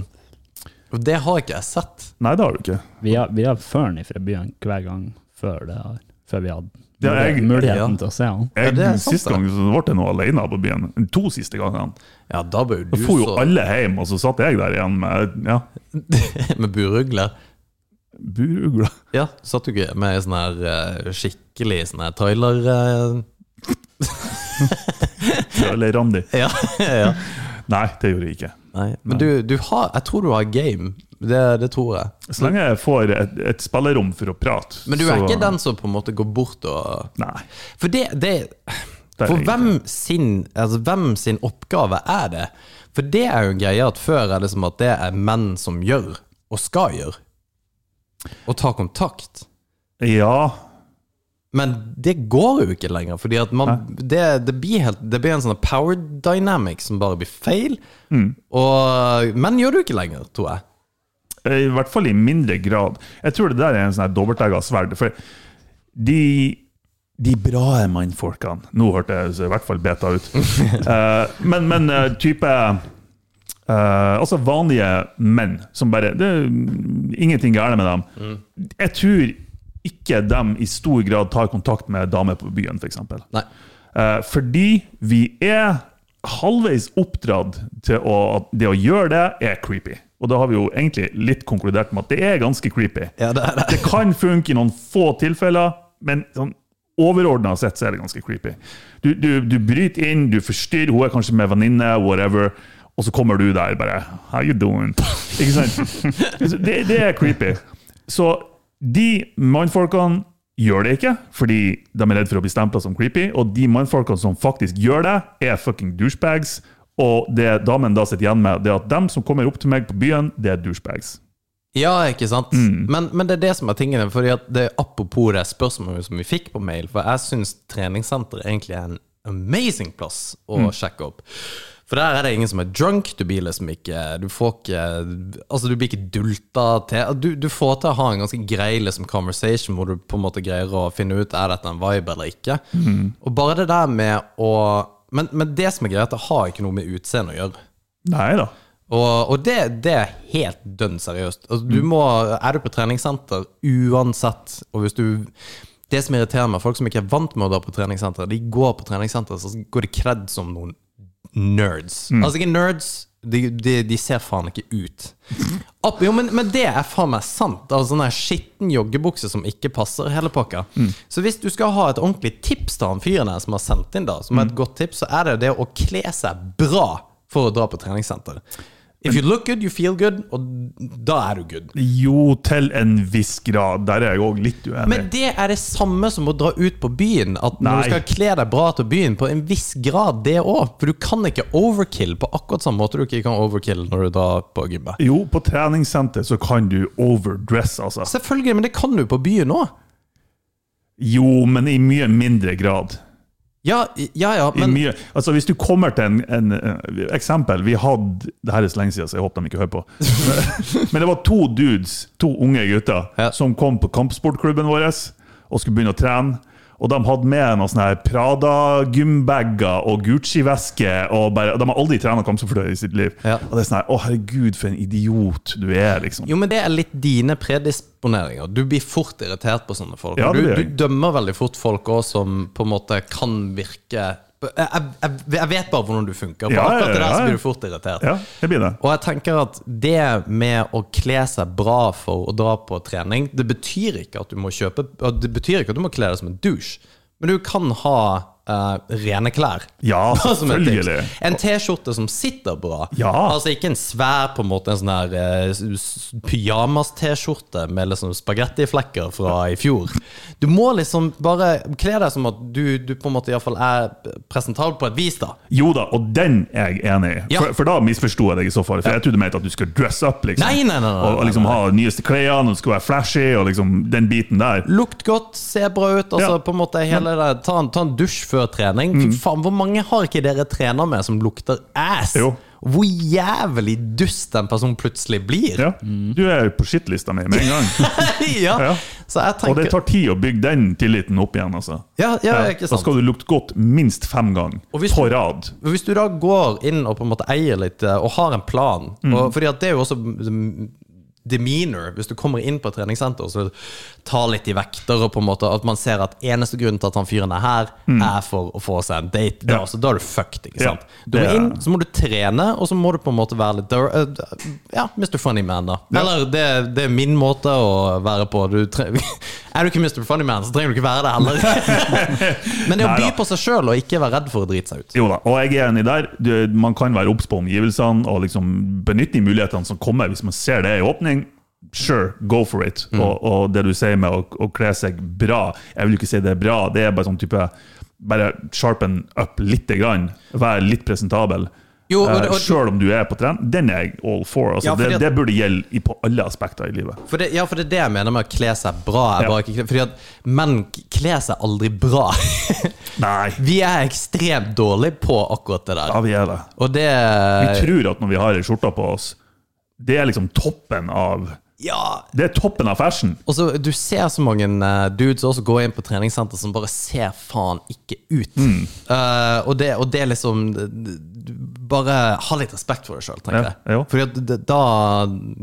[SPEAKER 2] Og det har ikke jeg sett.
[SPEAKER 3] Nei, det har du ikke.
[SPEAKER 4] Vi har, vi har førn fra byen hver gang før, det, her, før vi hadde
[SPEAKER 3] Ja, jeg-
[SPEAKER 4] muligheten
[SPEAKER 2] ja.
[SPEAKER 4] til å se han.
[SPEAKER 3] Jeg,
[SPEAKER 2] Ja, det er sant,
[SPEAKER 3] sist
[SPEAKER 2] det.
[SPEAKER 3] gang så ble jeg nå alene på byen. De to siste gangene.
[SPEAKER 2] Ja, da bør jo
[SPEAKER 3] Da
[SPEAKER 2] du
[SPEAKER 3] for jo
[SPEAKER 2] så
[SPEAKER 3] alle hjem, og så satt jeg der igjen med ja,
[SPEAKER 2] med burugler.
[SPEAKER 3] burugler.
[SPEAKER 2] Ja, satt du ikke med sånn her eh, skikkelig sånn her trailer... eh,
[SPEAKER 3] Eller Randi.
[SPEAKER 2] ja, eh? ja.
[SPEAKER 3] Nei, det gjorde jeg ikke.
[SPEAKER 2] Nei, men du, du har Jeg tror du har game. Det, det tror jeg.
[SPEAKER 3] Så lenge jeg får et, et spillerom for å prate
[SPEAKER 2] Men du er
[SPEAKER 3] så,
[SPEAKER 2] ikke den som på en måte går bort og
[SPEAKER 3] Nei.
[SPEAKER 2] For det, det
[SPEAKER 3] Det er
[SPEAKER 2] For
[SPEAKER 3] jeg
[SPEAKER 2] hvem sin, altså, hvem sin oppgave er det? For det er jo en greie at før er det som at det er menn som gjør, og skal gjøre, og ta kontakt.
[SPEAKER 3] Ja,
[SPEAKER 2] Men det går jo ikke lenger, fordi at man, det, det, blir helt, det blir en sånn power dynamic som bare blir feil.
[SPEAKER 3] Mm.
[SPEAKER 2] Og menn gjør det jo ikke lenger, tror jeg.
[SPEAKER 3] I hvert fall i mindre grad. Jeg tror det der er en sånn her dobbeltegga sverd. For de, de bra mannfolkene Nå hørte jeg så i hvert fall beta ut. Eh, men men eh, type eh, Altså vanlige menn som bare det, er Ingenting gærent med dem. Jeg tror ikke dem i stor grad tar kontakt med damer på byen, f.eks. eksempel
[SPEAKER 2] Nei.
[SPEAKER 3] Eh, fordi vi er halvveis oppdratt til å, at det å gjøre det er creepy. Og da har vi jo egentlig litt konkludert med at det er ganske creepy.
[SPEAKER 2] Ja, det er det.
[SPEAKER 3] Det kan funke i noen få tilfeller, men sånn overordna sett så er det ganske creepy. Du, du, du bryter inn, du forstyrrer, hun er kanskje med venninne, whatever. Og så kommer du der bare How you doing? Ikke sant? Altså, Det, det er creepy. Så de mannfolkene gjør det ikke, fordi de er redd for å bli stempla som creepy. Og de mannfolkene som faktisk gjør det, er fucking douchebags. Og det damen da sitter igjen med, det er at dem som kommer opp til meg på byen, det er douchebags.
[SPEAKER 2] Ja, ikke sant? Men, men det er det som er tingene. Fordi at det er Apropos det spørsmålet som vi fikk på mail, for jeg syns treningssenter egentlig er en amazing plass å sjekke opp. For der er det ingen som er drunk, du blir liksom ikke Du får ikke Altså, du blir ikke dulta til Du, du får til å ha en ganske grei liksom conversation hvor du på en måte greier å finne ut Er dette en vibe eller ikke. Og bare det der med å men, men det som er greia, er at det har ikke noe med utseendet å gjøre.
[SPEAKER 3] Nei da.
[SPEAKER 2] Og, og det, det er helt dønn seriøst. Altså, du må, er du på treningssenter uansett, og hvis du Det som irriterer meg, folk som ikke er vant med å dra på treningssenter, de går på treningssenter, så går de kledd som noen nerds. Altså ikke nerds, de, de, de ser faen ikke ut. Opp, jo, men, men det er faen meg sant. Altså Sånn der skitten joggebukse som ikke passer hele pakka. Så hvis du skal ha et ordentlig tips til han fyren her som har sendt inn, da, som er et godt tips, så er det det å kle seg bra for å dra på treningssenter. If you look good, you feel good, og da er du good.
[SPEAKER 3] Jo, til en viss grad. Der er jeg òg litt uenig.
[SPEAKER 2] Men det er det samme som å dra ut på byen. At når
[SPEAKER 3] Nei.
[SPEAKER 2] du skal kle deg bra til byen, på en viss grad, det òg. For du kan ikke overkill på akkurat samme måte du ikke kan overkill når du drar på gymmet.
[SPEAKER 3] Jo, på treningssenter så kan du overdress, altså.
[SPEAKER 2] Selvfølgelig, men det kan du på byen òg.
[SPEAKER 3] Jo, men i mye mindre grad.
[SPEAKER 2] Ja, ja, ja,
[SPEAKER 3] I
[SPEAKER 2] men
[SPEAKER 3] mye, altså Hvis du kommer til en, en eh, eksempel Vi hadde det her er så lenge siden, så jeg håper de ikke hører på. Men, men det var to dudes, to unge gutter,
[SPEAKER 2] Ja.
[SPEAKER 3] som kom på kampsportklubben vår og skulle begynne å trene. Og de hadde med noen sånne her Prada-gymbager og Gucci-veske. og bare, De har aldri trent kampsport før i sitt liv.
[SPEAKER 2] Ja.
[SPEAKER 3] Og det er sånn her, Å, herregud, for en idiot du er, liksom.
[SPEAKER 2] Jo, men det er litt dine predisponeringer. Du blir fort irritert på sånne folk.
[SPEAKER 3] Ja, det
[SPEAKER 2] du,
[SPEAKER 3] blir jeg.
[SPEAKER 2] du dømmer veldig fort folk også som på en måte kan virke jeg, jeg, jeg vet bare hvordan du funker. På
[SPEAKER 3] Ja, ja,
[SPEAKER 2] akkurat det der
[SPEAKER 3] ja,
[SPEAKER 2] så
[SPEAKER 3] ja.
[SPEAKER 2] blir du fort irritert.
[SPEAKER 3] Ja, det blir det.
[SPEAKER 2] Og jeg tenker at det med å kle seg bra for å dra på trening, det betyr ikke at du må kjøpe og Det betyr ikke at du må kle deg som en douche, men du kan ha eh, rene klær.
[SPEAKER 3] Ja,
[SPEAKER 2] Bare som et tips.
[SPEAKER 3] selvfølgelig.
[SPEAKER 2] En T-skjorte som sitter bra.
[SPEAKER 3] Ja.
[SPEAKER 2] Altså ikke en svær på en måte En sånn her eh, s- s- pyjamas-T-skjorte med liksom spagettiflekker fra i fjor. Du må liksom bare kle deg som at du, du på en måte iallfall er presentabel på et vis, da.
[SPEAKER 3] Jo da, og den er jeg enig i.
[SPEAKER 2] Ja.
[SPEAKER 3] For, for da misforsto jeg deg i så fall. For jeg trodde du mente at du skulle dress up. liksom.
[SPEAKER 2] Nei, nei, nei, nei,
[SPEAKER 3] og, og liksom
[SPEAKER 2] nei,
[SPEAKER 3] ha de nyeste klærne, og det skulle være flashy, og liksom den biten der.
[SPEAKER 2] Lukt godt, se bra ut. Altså
[SPEAKER 3] Ja. Mm.
[SPEAKER 2] på en måte hele det, ta, en, ta en dusj før trening. Fy faen, Hvor mange har ikke dere trener med som lukter ass?
[SPEAKER 3] Jo.
[SPEAKER 2] Hvor jævlig dust den personen plutselig blir.
[SPEAKER 3] Ja. Du er på skittlista mi med en gang.
[SPEAKER 2] Mm. Ja.
[SPEAKER 3] Ja.
[SPEAKER 2] Så jeg
[SPEAKER 3] Og det
[SPEAKER 2] tenker
[SPEAKER 3] tar tid å bygge den tilliten opp igjen, altså.
[SPEAKER 2] ja, ja, ikke
[SPEAKER 3] Da
[SPEAKER 2] sant?
[SPEAKER 3] skal du lukte godt minst fem ganger
[SPEAKER 2] Og hvis-
[SPEAKER 3] på rad.
[SPEAKER 2] Hvis du da går inn og på en måte eier litt eh, og har en plan og, Fordi at det er jo også mm, demeanor hvis du kommer inn på et treningssenter og så tar litt i vekter og på en måte at man ser at eneste grunnen til at han fyren er her, er for å få seg en date. Da,
[SPEAKER 3] Mm. Ja.
[SPEAKER 2] så da er du fucked, ikke
[SPEAKER 3] Ja.
[SPEAKER 2] sant? Du må
[SPEAKER 3] Det er-
[SPEAKER 2] inn, så må du trene, og så må du på en måte være litt der, eh, Ja, Mr. Funny Man, da. Eller det, det er min måte å være på. Du tre er du ikke Mr. Funny Man, så trenger du ikke være det heller. Men det å by
[SPEAKER 3] Neida.
[SPEAKER 2] på seg sjøl og ikke være redd for å drite seg ut.
[SPEAKER 3] Jo da, og jeg er enig der. Du, man kan være obs på omgivelsene og liksom benytte de mulighetene som kommer hvis man ser det i åpning. Sure, go for it.
[SPEAKER 2] Mm.
[SPEAKER 3] Og, og det du sier med å, å kle seg bra, jeg vil jo ikke si det er bra, det er bare sånn type bare sharpen up lite grann. Være litt presentabel.
[SPEAKER 2] Jo, og-
[SPEAKER 3] Eh,
[SPEAKER 2] og-
[SPEAKER 3] Selv om du er på trend. Den er jeg all for. Altså,
[SPEAKER 2] Ja, fordi
[SPEAKER 3] det,
[SPEAKER 2] at-
[SPEAKER 3] det burde gjelde i- på alle aspekter i livet.
[SPEAKER 2] For det, ja, for det er det jeg mener med å kle seg bra. Er
[SPEAKER 3] Ja.
[SPEAKER 2] bare ikke, fordi at menn k- kler seg aldri bra.
[SPEAKER 3] Nei,
[SPEAKER 2] vi er ekstremt dårlige på akkurat det der.
[SPEAKER 3] ja, vi er det.
[SPEAKER 2] Og det
[SPEAKER 3] Vi tror at når vi har ei skjorte på oss, det er liksom toppen av
[SPEAKER 2] Ja.
[SPEAKER 3] Det er toppen av fashion.
[SPEAKER 2] Og så Du ser så mange eh, dudes også gå inn på treningssenter som bare ser faen ikke ut.
[SPEAKER 3] Mm.
[SPEAKER 2] Eh, og, det, og det er liksom d- d- Bare ha litt respekt for deg sjøl, tenker
[SPEAKER 3] Ja,
[SPEAKER 2] jeg.
[SPEAKER 3] jo. Mm.
[SPEAKER 2] Fordi at d- da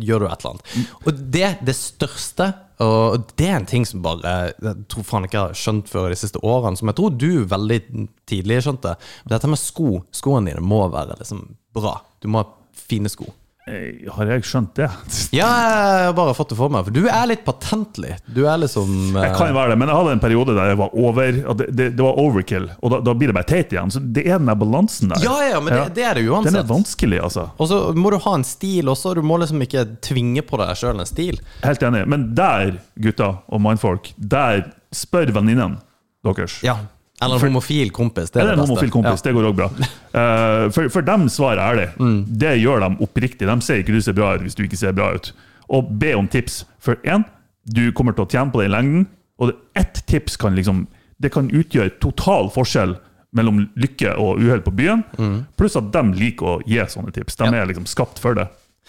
[SPEAKER 2] gjør du et eller annet. Og det, det største, og det er en ting som bare Jeg tror faen ikke jeg har skjønt før de siste årene, som jeg tror du veldig tidlig skjønte, dette med sko. Skoene dine må være liksom bra. Du må ha fine sko.
[SPEAKER 3] Eh, Har jeg skjønt det?
[SPEAKER 2] Ja, jeg har bare fått det for meg. For du er litt patentlig. Du er liksom eh,
[SPEAKER 3] Jeg kan være det, men jeg hadde en periode der jeg var over. Og det, det, det var overkill, og da, da blir det bare teit igjen. Så det er den der balansen der.
[SPEAKER 2] Ja, ja, men det, det er det jo
[SPEAKER 3] Den er
[SPEAKER 2] uansett.
[SPEAKER 3] vanskelig, altså.
[SPEAKER 2] Og så må du ha en stil også. Du må liksom ikke tvinge på deg sjøl en stil.
[SPEAKER 3] Helt enig. Men der, gutter og mindfolk, der spør venninnen deres.
[SPEAKER 2] Ja. Eller en homofil kompis. Det er
[SPEAKER 3] Eller
[SPEAKER 2] det
[SPEAKER 3] en
[SPEAKER 2] beste.
[SPEAKER 3] homofil kompis, det går òg bra. Eh, for, for dem svaret er det.
[SPEAKER 2] Mm.
[SPEAKER 3] Det gjør de oppriktig. De ser ikke du ser bra ut hvis du ikke ser bra ut. Og be om tips. For én, du kommer til å tjene på det i lengden. Og det, ett tips kan liksom Det kan utgjøre total forskjell mellom lykke og uhell på byen.
[SPEAKER 2] Mm.
[SPEAKER 3] Pluss at de liker å gi sånne tips. De er liksom skapt for det.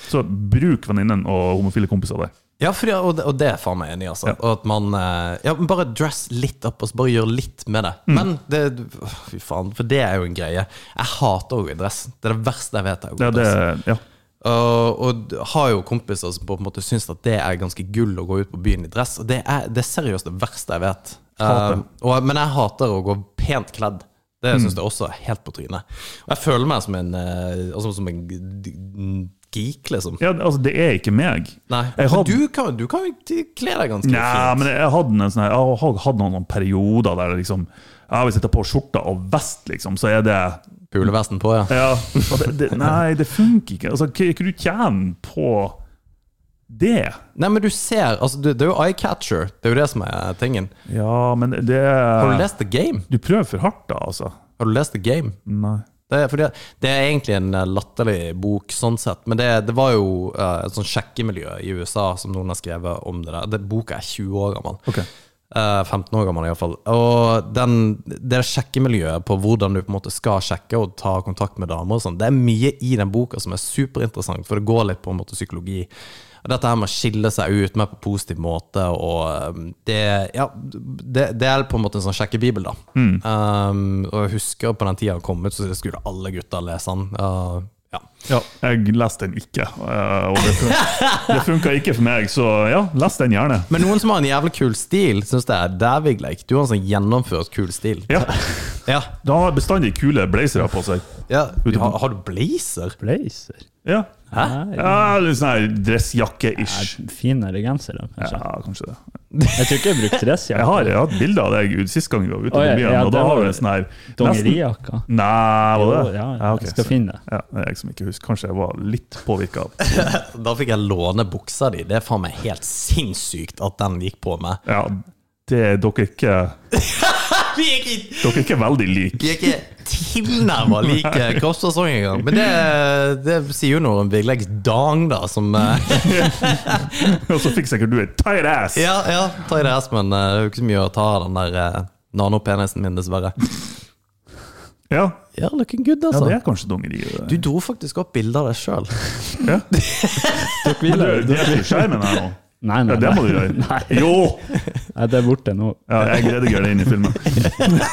[SPEAKER 3] Så bruk venninnen og homofile kompiser der.
[SPEAKER 2] Ja, fordi, og, det, og det er faen meg enig i, altså. Og at man eh, ja, men Bare dress litt opp, og så bare gjør litt med det.
[SPEAKER 3] Mm.
[SPEAKER 2] Men det åh, Fy faen, for det er jo en greie. Jeg hater å gå i dress. Det er det verste jeg altså. vet. er å gå i
[SPEAKER 3] Ja, det,
[SPEAKER 2] dress.
[SPEAKER 3] ja.
[SPEAKER 2] Og, Eh, og d- har jo kompiser som på en måte syns at det er ganske gull å gå ut på byen i dress. Og det er, det er seriøst det verste jeg vet.
[SPEAKER 3] Hater. Mm.
[SPEAKER 2] Um, og, men jeg hater å gå pent kledd. Det syns jeg også er helt på trynet. Og jeg føler meg som en, eh, altså, som en g- g- geek, liksom.
[SPEAKER 3] ja, altså, det er ikke meg.
[SPEAKER 2] Nei.
[SPEAKER 3] Jeg
[SPEAKER 2] Men
[SPEAKER 3] hadde-
[SPEAKER 2] du kan, du kan jo t- kle deg ganske
[SPEAKER 3] Nei,
[SPEAKER 2] fint.
[SPEAKER 3] men jeg hadde, en sånn her, jeg har hatt noen sånne perioder der jeg liksom ja, Hvis jeg tar på skjorta og vest, liksom, så er det
[SPEAKER 2] Pulevesten på, ja.
[SPEAKER 3] Ja, og det, det, nei, det funker ikke. Altså, hva hva du tjener på det?
[SPEAKER 2] Nei, men du ser altså, Det, det er jo eye-catcher. Det er jo det som er tingen.
[SPEAKER 3] Ja, men det
[SPEAKER 2] Har du lest The Game?
[SPEAKER 3] Du prøver for hardt, da, altså.
[SPEAKER 2] Har du lest The Game?
[SPEAKER 3] Nei.
[SPEAKER 2] Det er, fordi, det er egentlig en eh, latterlig bok, sånn sett. Men det, det var jo eh, et sånn sjekkemiljø i USA som noen har skrevet om det der. Det, boka er 20 år gammel.
[SPEAKER 3] Ok.
[SPEAKER 2] Eh, 15 år gammel, iallfall. Og den, det sjekkemiljøet på hvordan du på en måte skal sjekke og ta kontakt med damer og sånn, det er mye i den boka som er superinteressant, for det går litt på en måte psykologi. Og Dette her med å skille seg ut mer på positiv måte, og eh, det, ja, det, det er på en måte en sånn sjekkebibel, da.
[SPEAKER 3] Mm.
[SPEAKER 2] Um, og jeg husker på den tida han kom ut, så skulle alle gutter lese den. Uh, ja.
[SPEAKER 3] Ja, jeg leste den ikke, eh, og det funka, det funka ikke for meg, så ja, les den gjerne.
[SPEAKER 2] Men noen som har en jævlig kul stil, syns det er der, Vigleik. Du har en sånn gjennomført kul stil.
[SPEAKER 3] Ja,
[SPEAKER 2] Ja,
[SPEAKER 3] Da har bestandig kule blazere på seg.
[SPEAKER 2] ja. Har, har du blazer?
[SPEAKER 4] Blazer?
[SPEAKER 3] Ja,
[SPEAKER 4] Nei,
[SPEAKER 3] ja litt sånn her dressjakke-ish.
[SPEAKER 4] finere gensere, kanskje.
[SPEAKER 3] Ja, kanskje det.
[SPEAKER 4] Jeg tror ikke jeg brukte dressjakke.
[SPEAKER 3] Jeg har, jeg har hatt bilde av deg ut- sist gang vi var ute
[SPEAKER 4] Å, ja,
[SPEAKER 3] på byen,
[SPEAKER 4] ja,
[SPEAKER 3] og
[SPEAKER 4] det
[SPEAKER 3] da har
[SPEAKER 4] var
[SPEAKER 3] du en sånn her nesten-
[SPEAKER 4] Dongerijakka.
[SPEAKER 3] Nei, var det
[SPEAKER 4] Jo,
[SPEAKER 3] det?
[SPEAKER 4] ja, ja,
[SPEAKER 3] ok,
[SPEAKER 4] jeg skal
[SPEAKER 3] så-
[SPEAKER 4] finne det.
[SPEAKER 3] Ja, det er jeg som ikke husker. Kanskje jeg var litt påvirka av det.
[SPEAKER 2] Da fikk jeg låne buksa di. Det er faen meg helt sinnssykt at den gikk på meg.
[SPEAKER 3] Ja, det er dere ikke
[SPEAKER 2] Vi er ikke,
[SPEAKER 3] Dere er ikke veldig like.
[SPEAKER 2] vi er ikke tilnærma like kroppsfasong engang. Men det, det sier jo noe om Vigleiks dang, da, som eh,
[SPEAKER 3] Og så fikk sikkert du en tight ass!
[SPEAKER 2] Ja, ja, ta i det, Espen. eh, Det er jo ikke så mye å ta av den der eh, nanopenisen min, dessverre.
[SPEAKER 3] Ja,
[SPEAKER 2] Ja, looking good,
[SPEAKER 3] ja,
[SPEAKER 2] altså.
[SPEAKER 3] det er kanskje dongeri. det.
[SPEAKER 2] Du dro faktisk opp bilder av deg sjøl.
[SPEAKER 3] Ja.
[SPEAKER 4] Tok vi
[SPEAKER 3] Men
[SPEAKER 4] det?
[SPEAKER 3] du, du er på skjermen her nå.
[SPEAKER 4] Nei, nei,
[SPEAKER 3] Ja, det må du
[SPEAKER 4] nei.
[SPEAKER 3] gjøre.
[SPEAKER 4] Nei.
[SPEAKER 3] Jo!
[SPEAKER 4] Nei, det er borte nå.
[SPEAKER 3] Ja, jeg redigerer det inn i filmen.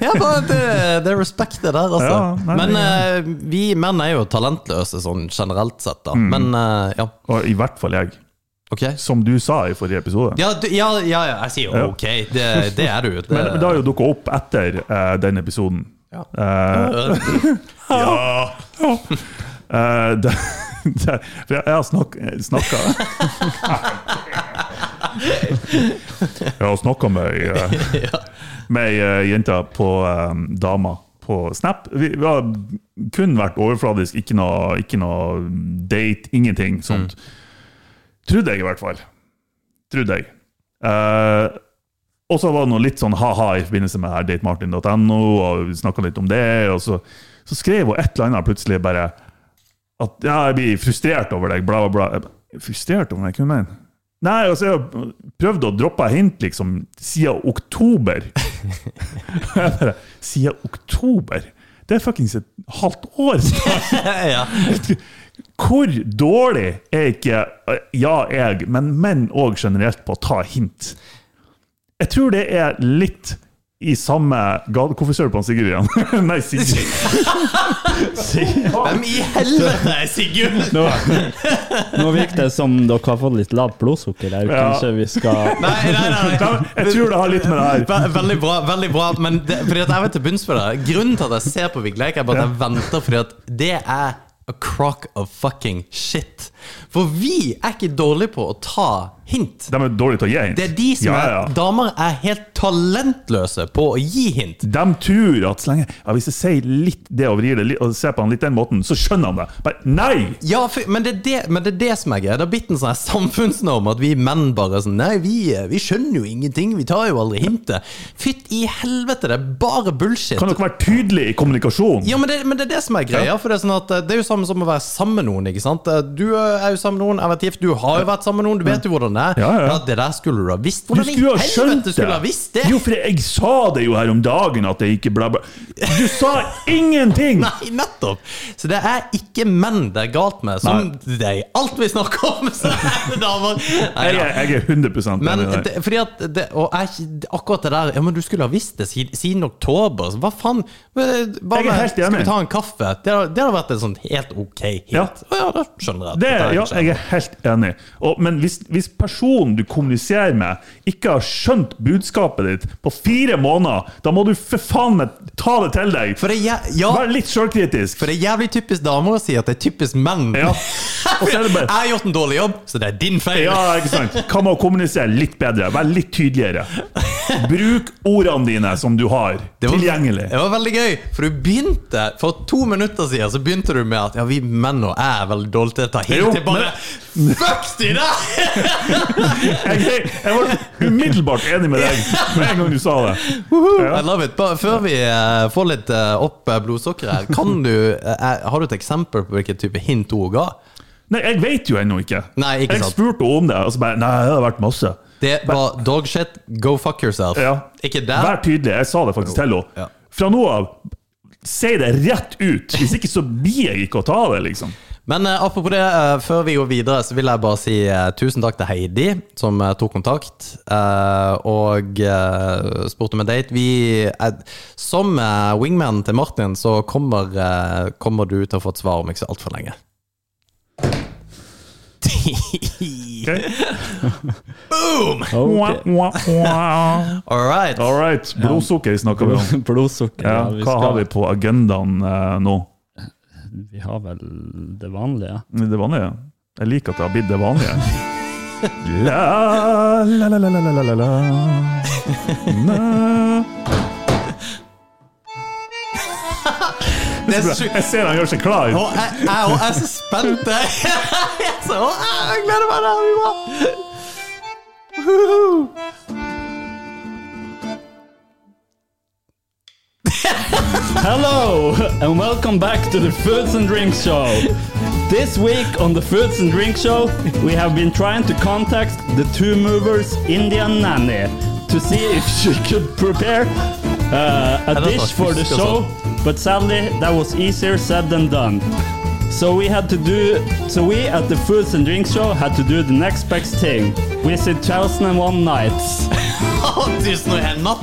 [SPEAKER 2] Ja, bare det, det er respekt det der, altså.
[SPEAKER 3] Ja, nei,
[SPEAKER 2] men
[SPEAKER 3] det
[SPEAKER 2] eh, vi menn er jo talentløse sånn generelt sett, da.
[SPEAKER 3] Mm.
[SPEAKER 2] Men eh, ja,
[SPEAKER 3] Og i hvert fall jeg.
[SPEAKER 2] ok.
[SPEAKER 3] Som du sa i forrige episode.
[SPEAKER 2] Ja, du, ja, ja, ja, jeg sier
[SPEAKER 3] Ja.
[SPEAKER 2] jo ok, det, det er du. Det,
[SPEAKER 3] Men, men det har jo dukka opp etter eh, den episoden.
[SPEAKER 2] Ja.
[SPEAKER 3] Eh, ja. Eh, det, det, for jeg, jeg har snak, snakka Jeg har snakka med ei eh, med ei, eh, jente på eh, Dama på Snap. Vi, vi har kun vært overfladisk, ikke noe, ikke noe date, ingenting sånt. Trodde jeg, i hvert fall. Trodde jeg. Eh, og så var det noe litt sånn ha-ha i forbindelse med her datemartin.no, og vi snakka litt om det, og så, så skrev hun et eller annet plutselig bare at ja, jeg blir frustrert over deg, bla, bla, bla. Jeg bare, Frustrert over meg? Hva mener du? Nei, altså, jeg har prøvd å droppe hint liksom siden oktober. Jeg bare, siden oktober? Det er fuckings et halvt år siden!
[SPEAKER 2] ja.
[SPEAKER 3] Hvor dårlig er ikke eh, ja, jeg, men menn òg generelt på å ta hint? Jeg tror det er litt i samme gate Hvorfor ser du på han Sigurd igjen? Nei, Sigurd.
[SPEAKER 2] Hvem i helvete er Sigurd?
[SPEAKER 4] Nå, nå virker det som dere har fått litt lavt blodsukker der.
[SPEAKER 3] Ja.
[SPEAKER 4] Kanskje vi skal
[SPEAKER 2] Nei, nei, nei.
[SPEAKER 3] Nei,
[SPEAKER 2] nei.
[SPEAKER 3] Jeg tror det har litt med det her
[SPEAKER 2] Ve- Veldig bra, veldig bra men det, fordi at jeg vet til bunns med det. Grunnen til at jeg ser på Vigleik, er bare at jeg venter fordi at det er a crock of fucking shit. For vi er ikke dårlige på å ta hint.
[SPEAKER 3] De er dårlige til å gi hint.
[SPEAKER 2] Det er de som
[SPEAKER 3] ja,
[SPEAKER 2] er
[SPEAKER 3] ja.
[SPEAKER 2] Damer er helt talentløse på å gi hint.
[SPEAKER 3] De tror at så lenge ja, Hvis jeg sier litt det og vrir det litt, og ser på han litt den måten, så skjønner han det. Bare nei!
[SPEAKER 2] Ja, for, men, det er det, men det er det som er greia. Det har blitt en sånn her samfunnsnorm at vi menn bare er sånn Nei, vi, eh, vi skjønner jo ingenting. Vi tar jo aldri hintet. Fytt i helvete, det er bare bullshit.
[SPEAKER 3] Kan dere være tydelige i kommunikasjon?
[SPEAKER 2] Ja, men det, men det er det som er greia. For det er, sånn at, eh, det er jo samme som å være sammen med noen. ikke sant? Eh, Du eh, er jo sammen med noen, jeg har vært gift, du har jo vært sammen med noen, du vet jo hvordan det er.
[SPEAKER 3] Ja, ja.
[SPEAKER 2] Det der skulle du ha visst.
[SPEAKER 3] Du
[SPEAKER 2] Hvordan i
[SPEAKER 3] skulle ha skjønt
[SPEAKER 2] helvete
[SPEAKER 3] det!
[SPEAKER 2] skulle du ha visst det?
[SPEAKER 3] Jo, for jeg sa det jo her om dagen at det ikke bla, bla. Du sa ingenting!
[SPEAKER 2] Nei, nettopp! Så det er ikke menn det er galt med, som deg. Alt vi snakker om, så er det damer! Nei,
[SPEAKER 3] Jeg,
[SPEAKER 2] ja.
[SPEAKER 3] er- jeg er 100
[SPEAKER 2] Men
[SPEAKER 3] enig i
[SPEAKER 2] det, fordi at det, Og jeg, akkurat det der Ja, men du skulle ha visst det siden, siden oktober. Så hva faen? Hva
[SPEAKER 3] Jeg er helt
[SPEAKER 2] Skal
[SPEAKER 3] enig.
[SPEAKER 2] vi ta en kaffe? Det, har- det hadde vært et sånn helt ok hint.
[SPEAKER 3] Ja.
[SPEAKER 2] Ja, ja da skjønner jeg.
[SPEAKER 3] Det,
[SPEAKER 2] Dette er
[SPEAKER 3] ja,
[SPEAKER 2] ikke-
[SPEAKER 3] jeg er helt enig. Og, men hvis, hvis personen du kommuniserer med, ikke har skjønt budskapet ditt på fire måneder, da må du for faen meg ta det til deg!
[SPEAKER 2] For det, er jæ- ja,
[SPEAKER 3] Vær litt sjølkritisk!
[SPEAKER 2] for det er jævlig typisk damer å si at det er typisk menn.
[SPEAKER 3] Ja. Og så er det
[SPEAKER 2] Jeg
[SPEAKER 3] bare
[SPEAKER 2] har gjort en dårlig jobb, så det er din feil.
[SPEAKER 3] Ja, ikke sant? Hva med å kommunisere litt bedre? Vær litt tydeligere. Bruk ordene dine som du har
[SPEAKER 2] var,
[SPEAKER 3] tilgjengelig.
[SPEAKER 2] Det var veldig gøy, for du begynte For to minutter siden så begynte du med at Ja, vi menn og jeg er veldig dårlige til å ta
[SPEAKER 3] Jo,
[SPEAKER 2] hint. Jeg bare Fuck Stina!
[SPEAKER 3] Jeg, jeg, jeg var umiddelbart enig med deg med en gang du sa det.
[SPEAKER 2] I love it. Bare før vi eh, får litt eh, opp eh, blodsukkeret her, kan du eh, eh, Har du et eksempel på hvilken type hint hun ga?
[SPEAKER 3] Nei, jeg vet jo ennå ikke.
[SPEAKER 2] Nei, ikke
[SPEAKER 3] jeg
[SPEAKER 2] sant.
[SPEAKER 3] spurte henne om det, og så bare Nei, det har vært masse.
[SPEAKER 2] Det var dogshit, go fuck yourself.
[SPEAKER 3] Ja.
[SPEAKER 2] Ikke
[SPEAKER 3] Vær
[SPEAKER 2] der?
[SPEAKER 3] tydelig. Jeg sa det faktisk til henne.
[SPEAKER 2] Ja.
[SPEAKER 3] Fra nå av, si det rett ut. Hvis ikke så blir jeg ikke å ta det, liksom.
[SPEAKER 2] Men eh, apropos det, eh, før vi går videre, så vil jeg bare si eh, tusen takk til Heidi, som eh, tok kontakt eh, og eh, spurte om en date. Vi, eh, som eh, wingman til Martin, så kommer, eh, kommer du til å få et svar om ikke så altfor lenge.
[SPEAKER 3] Ok?
[SPEAKER 4] Ok.
[SPEAKER 3] Mwah, mwah.
[SPEAKER 2] All right.
[SPEAKER 3] All right. Blodsukker snakker vi om.
[SPEAKER 4] Blodsukker.
[SPEAKER 3] Ja,
[SPEAKER 4] vi
[SPEAKER 3] hva
[SPEAKER 4] skal-
[SPEAKER 3] har vi på agendaen eh, nå?
[SPEAKER 4] Vi har vel det vanlige.
[SPEAKER 3] Det vanlige? Jeg liker at det har blitt det vanlige. La, la, la, la, la, la, la, la, la. Na.
[SPEAKER 2] Det er så sjukt.
[SPEAKER 3] Jeg ser han gjør seg klar.
[SPEAKER 2] Å, jeg, jeg, å, jeg er så spent! jeg. Jeg, er så, å, jeg gleder meg! Det her blir bra! Woohoo!
[SPEAKER 4] Hello and welcome back to the Foods and Drinks Show. This week on the Foods and Drinks Show, we have been trying to contact the two movers, Indian Nanny, to see if she could prepare uh, a
[SPEAKER 2] don't
[SPEAKER 4] dish
[SPEAKER 2] know,
[SPEAKER 4] for the
[SPEAKER 2] she's
[SPEAKER 4] show,
[SPEAKER 2] still
[SPEAKER 4] but sadly that was easier said than done. So we had to do. So we at the Foods and Drinks Show had to do the next best thing: visit 1001 nights.
[SPEAKER 2] Å, Tusen og en natt!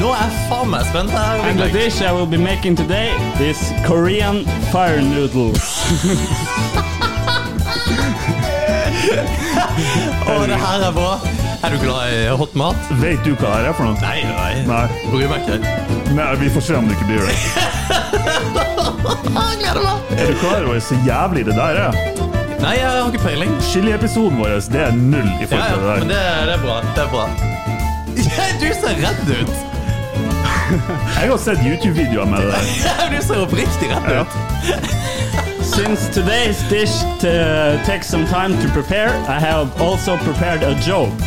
[SPEAKER 2] Nå er jeg faen meg spent. her.
[SPEAKER 4] And the dish I will be making today is Korean fire noodles.
[SPEAKER 2] Å, det her er bra. Er du glad i hot mat?
[SPEAKER 3] Vet du hva det er for noe?
[SPEAKER 2] Nei, nei.
[SPEAKER 3] Nei.
[SPEAKER 2] Bryr meg ikke.
[SPEAKER 3] Nei, vi får se om det ikke blir det.
[SPEAKER 2] Å, Jeg gleder meg!
[SPEAKER 3] Er du klar over så jævlig det der er?
[SPEAKER 2] Nei, jeg har ikke peiling.
[SPEAKER 3] Chiliepisoden vår, det er null
[SPEAKER 2] Ja,
[SPEAKER 3] i forhold
[SPEAKER 2] ja,
[SPEAKER 3] til det
[SPEAKER 2] men
[SPEAKER 3] der.
[SPEAKER 2] det, det er bra. Det er bra. Du ser redd ut.
[SPEAKER 3] Jeg har sett YouTube-videoer med det der.
[SPEAKER 2] Du ser oppriktig redd ut.
[SPEAKER 4] Since today's dish uh, takes some time to prepare, I have also prepared a joke.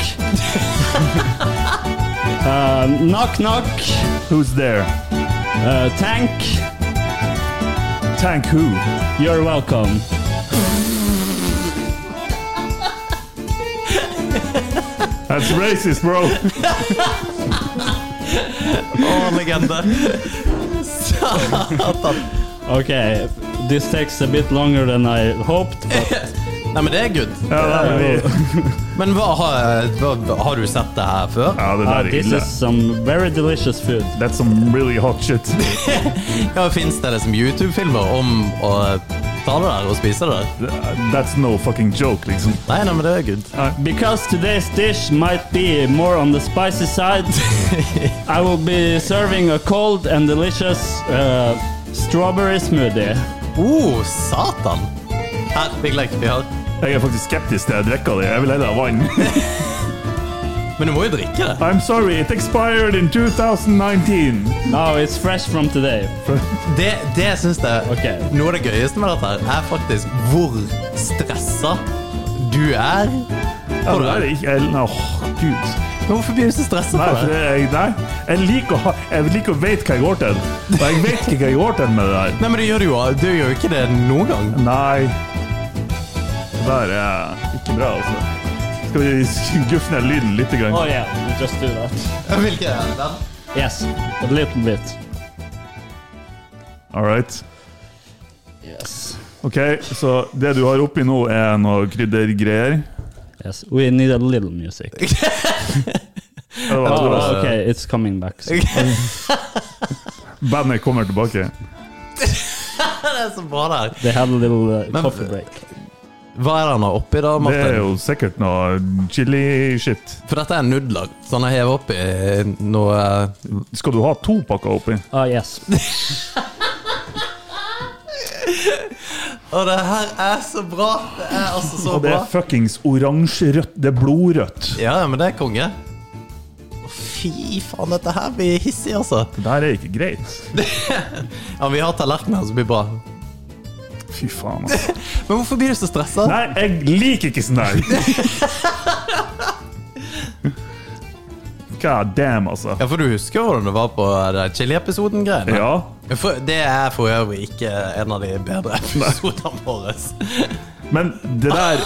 [SPEAKER 4] uh, knock knock,
[SPEAKER 3] Who's there?
[SPEAKER 4] uh, tank,
[SPEAKER 3] Tank who?
[SPEAKER 4] you're welcome.
[SPEAKER 3] That's racist, bro.
[SPEAKER 2] Å, legende. Satan.
[SPEAKER 4] Okay, this takes a bit longer than I hoped.
[SPEAKER 2] Nei, men det er good.
[SPEAKER 3] Ja, nei, men vi-
[SPEAKER 2] Men hva, har- hva, har du sett det her før?
[SPEAKER 3] ja det
[SPEAKER 4] Uh,
[SPEAKER 3] der er
[SPEAKER 4] this
[SPEAKER 3] ille.
[SPEAKER 4] is some very delicious food.
[SPEAKER 3] That's some really hot shit.
[SPEAKER 2] Ja, Fins det liksom YouTube-filmer om å ta det der og spise det? der?
[SPEAKER 3] That's no fucking joke, liksom.
[SPEAKER 2] Nei, nei, men det er good.
[SPEAKER 4] Because today's dish might be more on the spicy side, I will be serving a cold and delicious uh, strawberry smoothie.
[SPEAKER 2] Oh, satan! Her, Big Lake, vi har
[SPEAKER 3] Jeg er faktisk skeptisk til å drikke det. Jeg vil heller ha vann.
[SPEAKER 2] Men du må jo drikke det.
[SPEAKER 3] I'm sorry, it expired in 2019.
[SPEAKER 4] No, Oh, it's fresh from today.
[SPEAKER 2] Det, det syns jeg
[SPEAKER 4] Ok.
[SPEAKER 2] Noe av det gøyeste med dette her er faktisk hvor stressa du er.
[SPEAKER 3] Ja, det der er ikke... jeg- Åh, Gud.
[SPEAKER 2] Hvorfor blir du så stressa
[SPEAKER 3] Nei,
[SPEAKER 2] på
[SPEAKER 3] for
[SPEAKER 2] det?
[SPEAKER 3] det er jeg der. Jeg liker å ha... Jeg liker å vite hva jeg går til. Og jeg vet ikke hva jeg går til med det der.
[SPEAKER 2] Nei, men du gjør det jo Du gjør jo ikke det noen gang.
[SPEAKER 3] Nei. Det der er ikke bra, altså. Skal vi guffe ned lyden litt? Grann?
[SPEAKER 4] Oh yeah, you just do that.
[SPEAKER 2] Hvilken er den?
[SPEAKER 4] Yes, a little bit.
[SPEAKER 3] All right.
[SPEAKER 4] Yes.
[SPEAKER 3] Ok, så det du har oppi nå er noe kryddergreier.
[SPEAKER 4] Yes, we need a little music.
[SPEAKER 3] Det var- det var-
[SPEAKER 4] Oh, okay, it's coming back. soon.
[SPEAKER 3] Bandet kommer tilbake.
[SPEAKER 2] Det er så bra der.
[SPEAKER 4] They had a little uh,
[SPEAKER 2] Men-
[SPEAKER 4] coffee break.
[SPEAKER 2] Hva er det han har oppi da,
[SPEAKER 3] Det
[SPEAKER 2] Martin?
[SPEAKER 3] er jo sikkert noe chili-shit.
[SPEAKER 2] For dette er nudler, så han har hevet oppi noe eh,
[SPEAKER 3] Skal du ha to pakker oppi?
[SPEAKER 4] Oh yes.
[SPEAKER 2] Og det her er så bra! Det er altså så
[SPEAKER 3] Og det
[SPEAKER 2] bra.
[SPEAKER 3] er fuckings oransje-rødt. Det er blodrødt.
[SPEAKER 2] Ja, ja, men det er konge. Fy faen, dette her blir hissig, altså.
[SPEAKER 3] Det der er ikke greit.
[SPEAKER 2] Ja, vi har tallerkener, så det blir bra.
[SPEAKER 3] Fy faen, altså.
[SPEAKER 2] Men hvorfor blir du så stressa?
[SPEAKER 3] Nei, jeg liker ikke sånn der. God damn, altså.
[SPEAKER 2] Ja, for du husker hvordan det var på eh, den chiliepisoden-greiene?
[SPEAKER 3] Ja.
[SPEAKER 2] For, det er for øvrig ikke en av de bedre episodene våre.
[SPEAKER 3] Men det der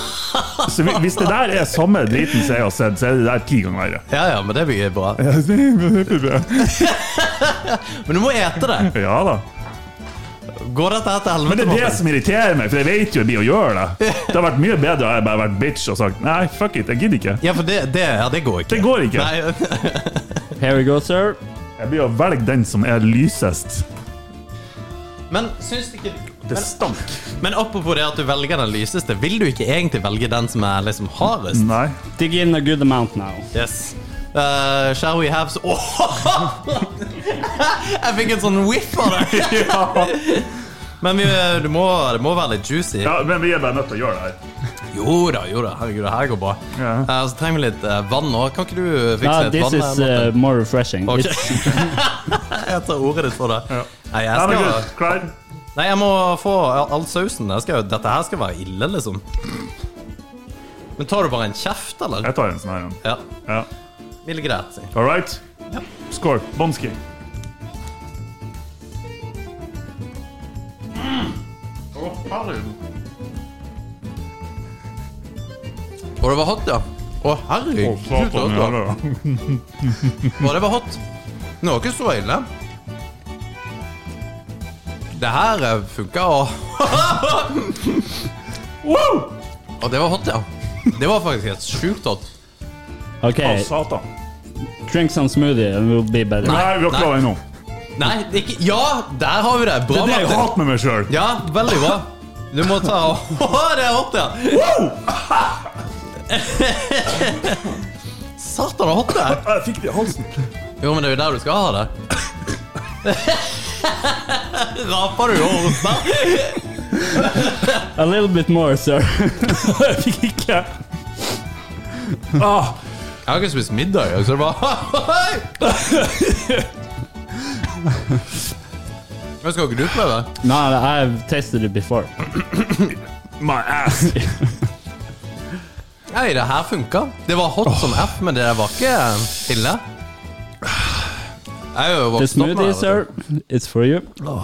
[SPEAKER 3] så hvi- Hvis det der er samme driten som jeg har sett, så er det der ti ganger verre.
[SPEAKER 2] Ja, ja, men det blir bra. Men du må ete det.
[SPEAKER 3] Ja da.
[SPEAKER 2] Går dette her til
[SPEAKER 3] Men
[SPEAKER 2] helvete?
[SPEAKER 3] det er det
[SPEAKER 2] Morten?
[SPEAKER 3] som irriterer meg, for jeg vet jo jeg blir å gjøre det. Det har vært mye bedre om jeg bare har vært bitch og sagt nei, fuck it, jeg gidder ikke.
[SPEAKER 2] Ja, for det, det, ja, det går ikke.
[SPEAKER 3] Det går ikke.
[SPEAKER 2] Nei,
[SPEAKER 4] Here we go, sir.
[SPEAKER 3] Jeg blir å velge den som er lysest.
[SPEAKER 2] men syns ikke
[SPEAKER 3] Det stank.
[SPEAKER 2] Men apropos det at du velger den lyseste, vil du ikke egentlig velge den som er liksom hardest?
[SPEAKER 3] Nei.
[SPEAKER 4] Dig in a good amount now.
[SPEAKER 2] Yes. Eh, shall we have so Åh! Jeg fikk en sånn whiff av det! Men vi, du må, det må være litt juicy.
[SPEAKER 3] Ja, men vi er bare nødt til å gjøre det her.
[SPEAKER 2] Jo da, jo da. Herregud, det her går bra.
[SPEAKER 3] Ja.
[SPEAKER 2] Eh, og så trenger vi litt eh, vann òg. Kan ikke du fikse
[SPEAKER 4] Ah,
[SPEAKER 2] litt
[SPEAKER 4] this
[SPEAKER 2] vann?
[SPEAKER 4] is uh, more refreshing.
[SPEAKER 2] Ok.
[SPEAKER 4] It's-
[SPEAKER 2] jeg tar ordet ditt for det.
[SPEAKER 3] eh, Ja.
[SPEAKER 2] Nei, jeg
[SPEAKER 3] Ja, men
[SPEAKER 2] skal,
[SPEAKER 3] gud, klar.
[SPEAKER 2] nei, jeg må få all all sausen. Jeg skal, jo- dette her skal være ille, liksom. Men tar du bare en kjeft, eller?
[SPEAKER 3] Jeg tar en sånn her en.
[SPEAKER 2] Ja.
[SPEAKER 3] Ja.
[SPEAKER 2] Ville greit. si.
[SPEAKER 3] All right? Skål. Bonski.
[SPEAKER 2] Og det var hot, ja. Å, herregud. altså. Og det var hot. Men det var ikke så ille. Det her eh, funka, og
[SPEAKER 3] Wow!
[SPEAKER 2] Og det var hot, ja. Det var faktisk helt sjukt hot.
[SPEAKER 3] Å,
[SPEAKER 4] Okay,
[SPEAKER 3] satan.
[SPEAKER 4] drink some smoothie and we'll be better.
[SPEAKER 3] Eh, Nei, vi har ikke
[SPEAKER 2] nei.
[SPEAKER 3] lov ennå.
[SPEAKER 2] Nei, det ikke Ja, der har vi det! Bra,
[SPEAKER 3] Det er det jeg
[SPEAKER 2] Martin.
[SPEAKER 3] hater med meg sjøl.
[SPEAKER 2] Ja, veldig bra. Du må ta Å, det er hot, ja! Satan, det er hot, det!
[SPEAKER 3] Jeg fikk det i halsen.
[SPEAKER 2] Jo, men det er jo der du skal ha det. Raper du over hos meg?
[SPEAKER 4] A little bit more, sir.
[SPEAKER 3] Jeg fikk ikke. Ah,
[SPEAKER 2] Jeg har ikke spist middag, så det bare Men skal ikke du prøve?
[SPEAKER 4] no, I've tasted it before.
[SPEAKER 3] my ass.
[SPEAKER 2] Nei, det her funka. Det var hot som F, men det der var ikke eh, ille. Jeg er jo
[SPEAKER 4] The
[SPEAKER 2] vokst opp med
[SPEAKER 4] smoothie,
[SPEAKER 2] det. vet
[SPEAKER 4] sir, it's for you.
[SPEAKER 2] du.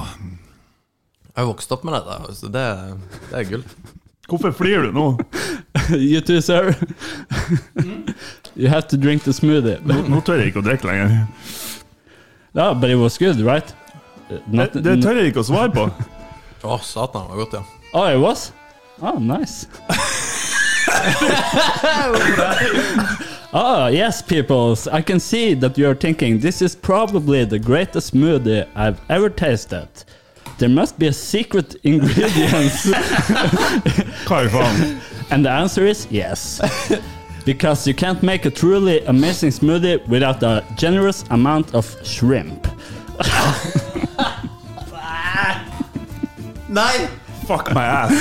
[SPEAKER 2] Jeg er vokst opp med det, der, så det, det er gull.
[SPEAKER 3] Hvorfor flyr du nå?
[SPEAKER 4] you too, sir. you have to drink the smoothie.
[SPEAKER 3] Nå tør jeg ikke å drikke lenger.
[SPEAKER 4] No, but it was good, right? Uh,
[SPEAKER 3] Det,
[SPEAKER 4] Not,
[SPEAKER 3] det tør jeg ikke å svare på.
[SPEAKER 2] Å, satan, det var godt, ja.
[SPEAKER 4] oh, it was? Oh, nice. oh, yes, peoples. I can see that you're thinking this is probably the greatest smoothie I've ever tasted. There must be a secret ingredients.
[SPEAKER 3] Hva i faen?
[SPEAKER 4] and the answer is yes. Because you can't make a truly amazing smoothie without a generous amount of shrimp.
[SPEAKER 2] Nei!
[SPEAKER 3] Fuck my ass.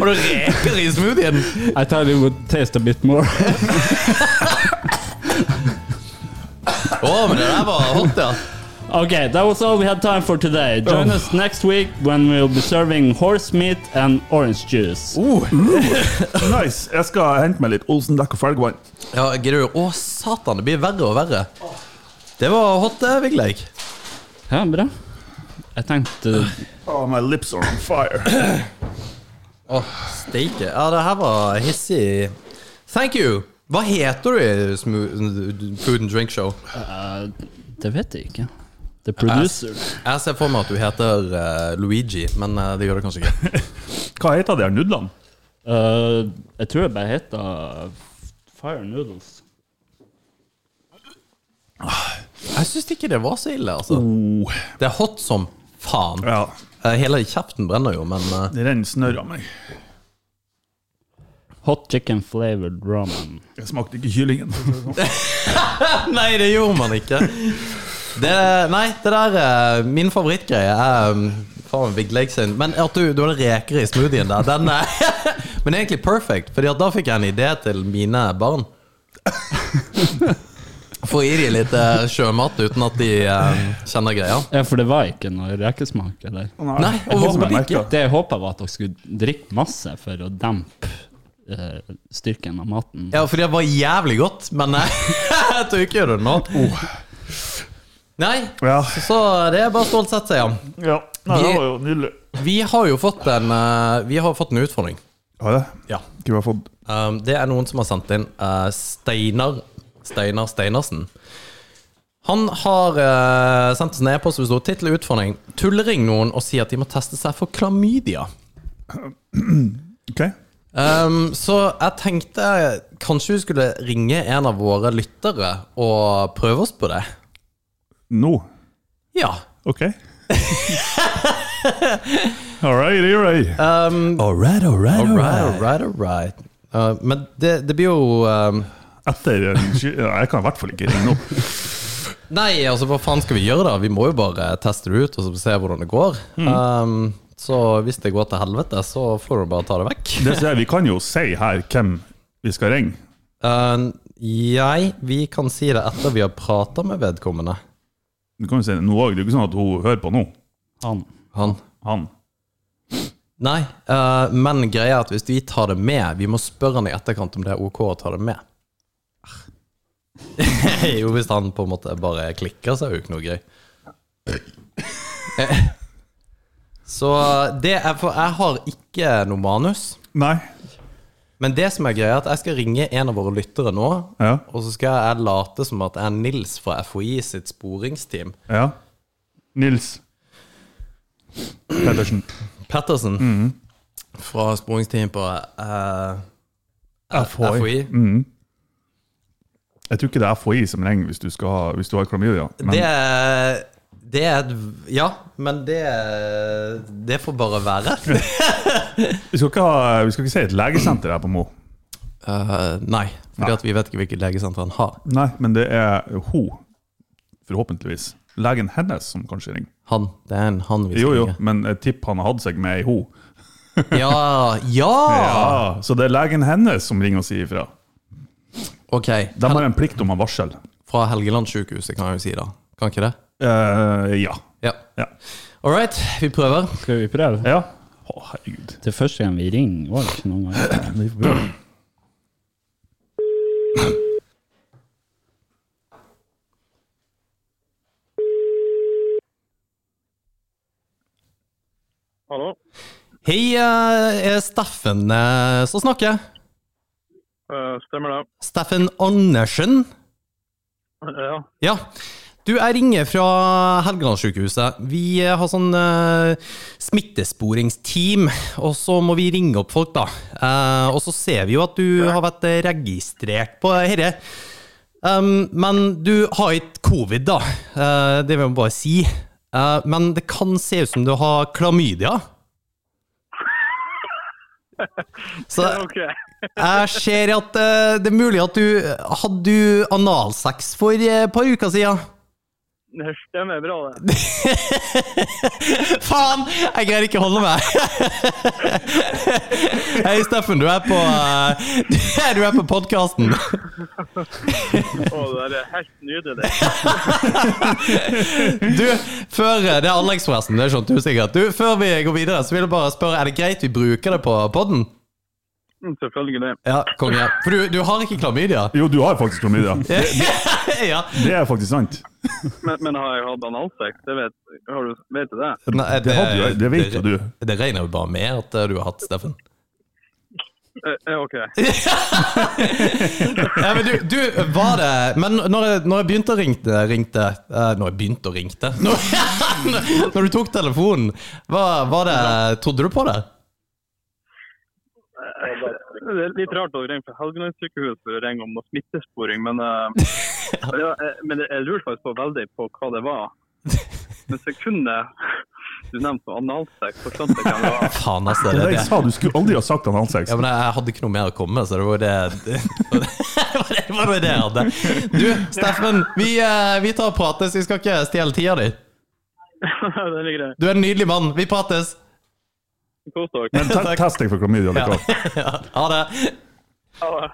[SPEAKER 2] Og det reker i smoothien.
[SPEAKER 4] I thought it would taste a bit more.
[SPEAKER 2] Å, men det der var hot, ja.
[SPEAKER 4] Okay, that was all we had time for today. Join us next week when we'll be serving horse meat and orange juice.
[SPEAKER 3] Nice. Jeg skal hente meg litt Olsen dekk og felgvann.
[SPEAKER 2] Ja, gidder du? Å, satan, det blir verre og verre. Det var hot, det, Vigleik.
[SPEAKER 4] Ja, bra. Jeg tenkte
[SPEAKER 3] Oh, my lips are on fire.
[SPEAKER 2] Åh, steike. Ja, det her var hissig. Thank you! Hva heter du i Smo- Food and Drink Show?
[SPEAKER 4] eh, Det vet jeg ikke. The producer.
[SPEAKER 2] Jeg ser for meg at du heter eh, Luigi, men eh, det gjør du kanskje ikke.
[SPEAKER 3] Hva heter de her nudlene?
[SPEAKER 4] Eh, jeg tror jeg bare heter Fire Noodles.
[SPEAKER 2] Jeg syns ikke det var så ille, altså.
[SPEAKER 3] Oh.
[SPEAKER 2] Det er hot som faen.
[SPEAKER 3] Ja,
[SPEAKER 2] Eh, Hele kjeften brenner jo, men eh,
[SPEAKER 3] det renner snørr av meg.
[SPEAKER 4] Hot chicken flavored ramen.
[SPEAKER 3] Jeg smakte ikke kyllingen.
[SPEAKER 2] Nei, det gjorde man ikke. Det, nei, det der eh, Min favorittgreie er um, Faen, Vigleik sin. Men at du, du hadde reker i smoothien der, den er Men egentlig perfect, Fordi at da fikk jeg en idé til mine barn. Får i de litt eh, sjømat uten at de eh, kjenner greia?
[SPEAKER 4] Ja, for det var ikke noe rekesmak, eller?
[SPEAKER 2] Nei,
[SPEAKER 3] Jeg håper
[SPEAKER 2] overhodet
[SPEAKER 3] jeg
[SPEAKER 2] ikke.
[SPEAKER 3] merker det.
[SPEAKER 4] Det jeg håpa, var at dere skulle drikke masse for å dempe eh, styrken av maten.
[SPEAKER 2] Ja, for det var jævlig godt, men eh, jeg tør ikke gjøre det nå. Nei,
[SPEAKER 3] Ja.
[SPEAKER 2] så, så det er bare stolt sett, sier han.
[SPEAKER 3] Ja. Nei, det
[SPEAKER 2] Vi-
[SPEAKER 3] var jo nydelig.
[SPEAKER 2] Vi har jo fått en, eh, vi har fått en utfordring.
[SPEAKER 3] Har det?
[SPEAKER 2] Ja.
[SPEAKER 3] Ikke vi har fått
[SPEAKER 2] Um, det er noen som har sendt inn eh, Steinar Steinar Steinersen. Han har eh, sendt oss en e-post hvor det står tittel og utfordring 'Tullering noen og si at de må teste seg for klamydia'.
[SPEAKER 3] OK?
[SPEAKER 2] Um, så jeg tenkte kanskje vi skulle ringe en av våre lyttere og prøve oss på det.
[SPEAKER 3] Nå?
[SPEAKER 2] Ja.
[SPEAKER 3] OK? all right, all right.
[SPEAKER 2] Um,
[SPEAKER 3] All right, all right, all
[SPEAKER 2] right, all right, all right. Uh, men det, det blir jo um,
[SPEAKER 3] Etter en sky- ja, Jeg kan i hvert fall ikke ringe opp.
[SPEAKER 2] Nei, altså hva faen skal vi gjøre da? Vi må jo bare teste det ut og så se hvordan det går. Um, så hvis det går til helvete, så får du bare ta det vekk.
[SPEAKER 3] Det sier jeg, Vi kan jo si her hvem vi skal ringe.
[SPEAKER 2] Um, jeg Vi kan si det etter vi har prata med vedkommende.
[SPEAKER 3] Du kan jo si det nå òg. Det er jo ikke sånn at hun hører på nå.
[SPEAKER 4] Han.
[SPEAKER 2] Han.
[SPEAKER 3] Han.
[SPEAKER 2] Nei, eh, men greia er at hvis vi tar det med Vi må spørre han i etterkant om det er ok å ta det med. jo, hvis han på en måte bare klikker, så er det jo ikke noe gøy. Eh, Så eh, det er For jeg har ikke noe manus.
[SPEAKER 3] Nei.
[SPEAKER 2] Men det som er greia, er at jeg skal ringe en av våre lyttere nå.
[SPEAKER 3] Ja.
[SPEAKER 2] Og så skal jeg late som at jeg er Nils fra FHI sitt sporingsteam.
[SPEAKER 3] Ja. Nils Pettersen.
[SPEAKER 2] Pettersen fra sporingsteam på eh, FHI.
[SPEAKER 3] Mm. Jeg tror ikke det er FHI som ringer hvis du, skal ha, hvis du har klamydia. Men
[SPEAKER 2] Det er, det er et Ja, men det Det får bare være.
[SPEAKER 3] vi, skal ikke ha, vi skal ikke si et legesenter her på Mo.
[SPEAKER 2] Eh, nei, fordi at vi vet ikke hvilket legesenter han har.
[SPEAKER 3] Nei, men det er hun, forhåpentligvis. Legen hennes som kanskje ringer.
[SPEAKER 2] Han. Det er en han vi
[SPEAKER 3] Jo,
[SPEAKER 2] skal
[SPEAKER 3] jo,
[SPEAKER 2] ringe.
[SPEAKER 3] men et tipp han har hatt seg med ei ho.
[SPEAKER 2] Ja, ja!
[SPEAKER 3] Ja, så det er legen hennes som ringer og sier ifra.
[SPEAKER 2] Ok.
[SPEAKER 3] De har en plikt om å varsel.
[SPEAKER 2] Fra Helgelandssykehuset, kan jeg jo si da. Kan ikke det?
[SPEAKER 3] Eh, ja.
[SPEAKER 2] Ja.
[SPEAKER 3] Ja.
[SPEAKER 2] All right, vi prøver.
[SPEAKER 4] Skal vi prøve?
[SPEAKER 3] ja. Å, herregud.
[SPEAKER 4] Det er første gang vi ringer, var det ikke noen gang?
[SPEAKER 3] Vi får prøve.
[SPEAKER 5] Hallo?
[SPEAKER 2] Hei, eh, er Steffen eh, som snakker?
[SPEAKER 5] Eh, stemmer det.
[SPEAKER 2] Steffen Andersen?
[SPEAKER 5] Ja.
[SPEAKER 2] Ja. Du, jeg ringer fra Helgelandssykehuset. Vi eh, har sånn eh, smittesporingsteam, og så må vi ringe opp folk, da. Eh, og så ser vi jo at du har vært eh, registrert på herre. Um, men du har ikke covid, da. Eh, det vil jeg bare si. Eh, men det kan se ut som du har klamydia. Så
[SPEAKER 5] Ok.
[SPEAKER 2] jeg ser at eh, det er mulig at du Hadde du analsex for eh, et par uker siden?
[SPEAKER 5] Det stemmer bra, det.
[SPEAKER 2] Faen! Jeg greier ikke å holde meg. Hei, Steffen. Du er på eh, Du er på podkasten.
[SPEAKER 5] Å, det er helt nydelig.
[SPEAKER 2] Du, før eh, Det er Alex, forresten. Det skjønte du sikkert. Du, Før vi går videre, så vil jeg bare spørre Er det greit vi bruker det på podden?
[SPEAKER 5] Mm, Selvfølgelig.
[SPEAKER 2] Ja, konge. For du, du har ikke klamydia?
[SPEAKER 3] Jo, du har faktisk klamydia. Det,
[SPEAKER 2] ja.
[SPEAKER 3] det er faktisk sant.
[SPEAKER 5] Men, men har jeg hatt analsex? Det vet, har du, vet du det?
[SPEAKER 2] Nei,
[SPEAKER 3] Det, hadde, jo- det vet jo du.
[SPEAKER 2] Det regner jo bare med at eh, du har hatt, Steffen.
[SPEAKER 5] Eh, eh, ok.
[SPEAKER 2] Ja, men du, du, var det Men når jeg, når jeg begynte å ringte, ringte eh, Når jeg begynte å ringte Når, når du tok telefonen, var, var det Trodde du på det?
[SPEAKER 5] Det er litt rart å ringe fra Helgelandssykehuset for å ringe om noe smittesporing, men, eh, ja, eh, men jeg lurte faktisk på veldig på hva det var. Men sekundet du nevnte analsex, så skjønte jeg hva det var.
[SPEAKER 2] Faen, altså.
[SPEAKER 3] Det
[SPEAKER 2] Det,
[SPEAKER 3] er det jeg
[SPEAKER 2] det.
[SPEAKER 3] sa, du skulle aldri ha sagt analsex.
[SPEAKER 2] Ja, men jeg hadde ikke noe mer å komme med, så det var det Det var det, det, var det jeg hadde. Du, Steffen, vi, eh, vi tar og prates. Vi skal ikke stjele tida di.
[SPEAKER 5] det er greit.
[SPEAKER 2] Du er en nydelig mann. Vi prates.
[SPEAKER 5] Kos dere.
[SPEAKER 3] Te- Test deg for klamydia likevel.
[SPEAKER 2] Ja, ha det.
[SPEAKER 5] Ha det.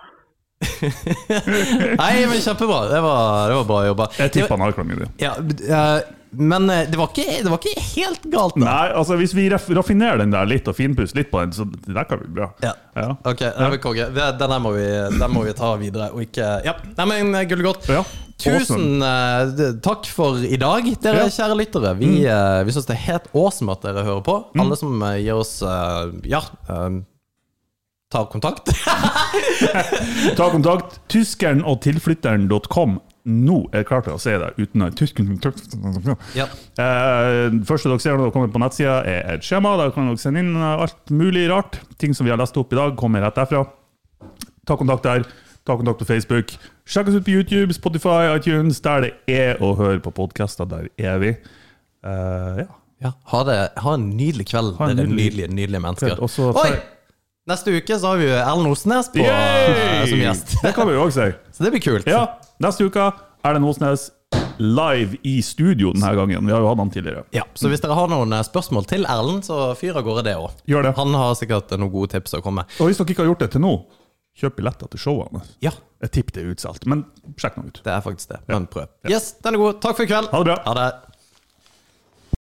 [SPEAKER 2] Nei, men kjempebra. Det var, det var bra jobba.
[SPEAKER 3] Jeg
[SPEAKER 2] Det var-
[SPEAKER 3] tipper han har klangen din.
[SPEAKER 2] Ja, b- eh, men eh, det var, ikke, det var ikke helt galt, da.
[SPEAKER 3] Nei, altså hvis vi raf- raffinerer den der litt og finpusser litt på den, så det der kan bli bra.
[SPEAKER 2] Ja.
[SPEAKER 3] Ja.
[SPEAKER 2] Ok, nei, men konge. Det- Den der må vi, den må vi ta videre. Og ikke, ja. Nei, men eh, Gullegodt,
[SPEAKER 3] Ja,
[SPEAKER 2] tusen eh, d- takk for i dag, dere
[SPEAKER 3] Ja. Mm.
[SPEAKER 2] kjære lyttere. Vi, eh, vi syns det er helt awesome at dere hører på. Alle som eh, gir oss eh, ja, eh, tar kontakt.
[SPEAKER 3] Ta kontakt tyskeren og tilflytteren.com. Nå er jeg klar til å si det uten å tyskeren-
[SPEAKER 2] ja.
[SPEAKER 3] Eh, Det første dere ser når dere kommer på nettsida, er et skjema. Der kan dere sende inn eh, alt mulig rart. Ting som vi har lest opp i dag, kommer rett derfra. Ta kontakt der. Ta kontakt på Facebook. Sjekk oss ut på YouTube, Spotify, iTunes, der det er å høre på podkaster. Der er vi. Eh, ja.
[SPEAKER 2] Ja, ha, det, ha en nydelig kveld,
[SPEAKER 3] Ha en
[SPEAKER 2] dere
[SPEAKER 3] nydelig-
[SPEAKER 2] nydelige, nydelige mennesker.
[SPEAKER 3] Og så-
[SPEAKER 2] Oi! Neste uke så har vi jo Erlend Osnes på, eh, som gjest.
[SPEAKER 3] Det kan vi jo òg si.
[SPEAKER 2] Så det blir kult.
[SPEAKER 3] Ja, neste uke er det Osnes live i studio denne gangen. Vi har jo hatt han tidligere.
[SPEAKER 2] Ja, Så hvis dere har noen eh, spørsmål til Erlend, så fyr av gårde det òg.
[SPEAKER 3] Gjør det.
[SPEAKER 2] Han har sikkert eh, noen gode tips å komme med.
[SPEAKER 3] Og hvis dere ikke har gjort det til nå, kjøp billetter til showene.
[SPEAKER 2] Ja,
[SPEAKER 3] Jeg tipper det er utsolgt, men sjekk nå ut.
[SPEAKER 2] det er faktisk det. Men prøv. Yes, den er god. Takk for i kveld.
[SPEAKER 3] Ha det bra.
[SPEAKER 2] Ha det.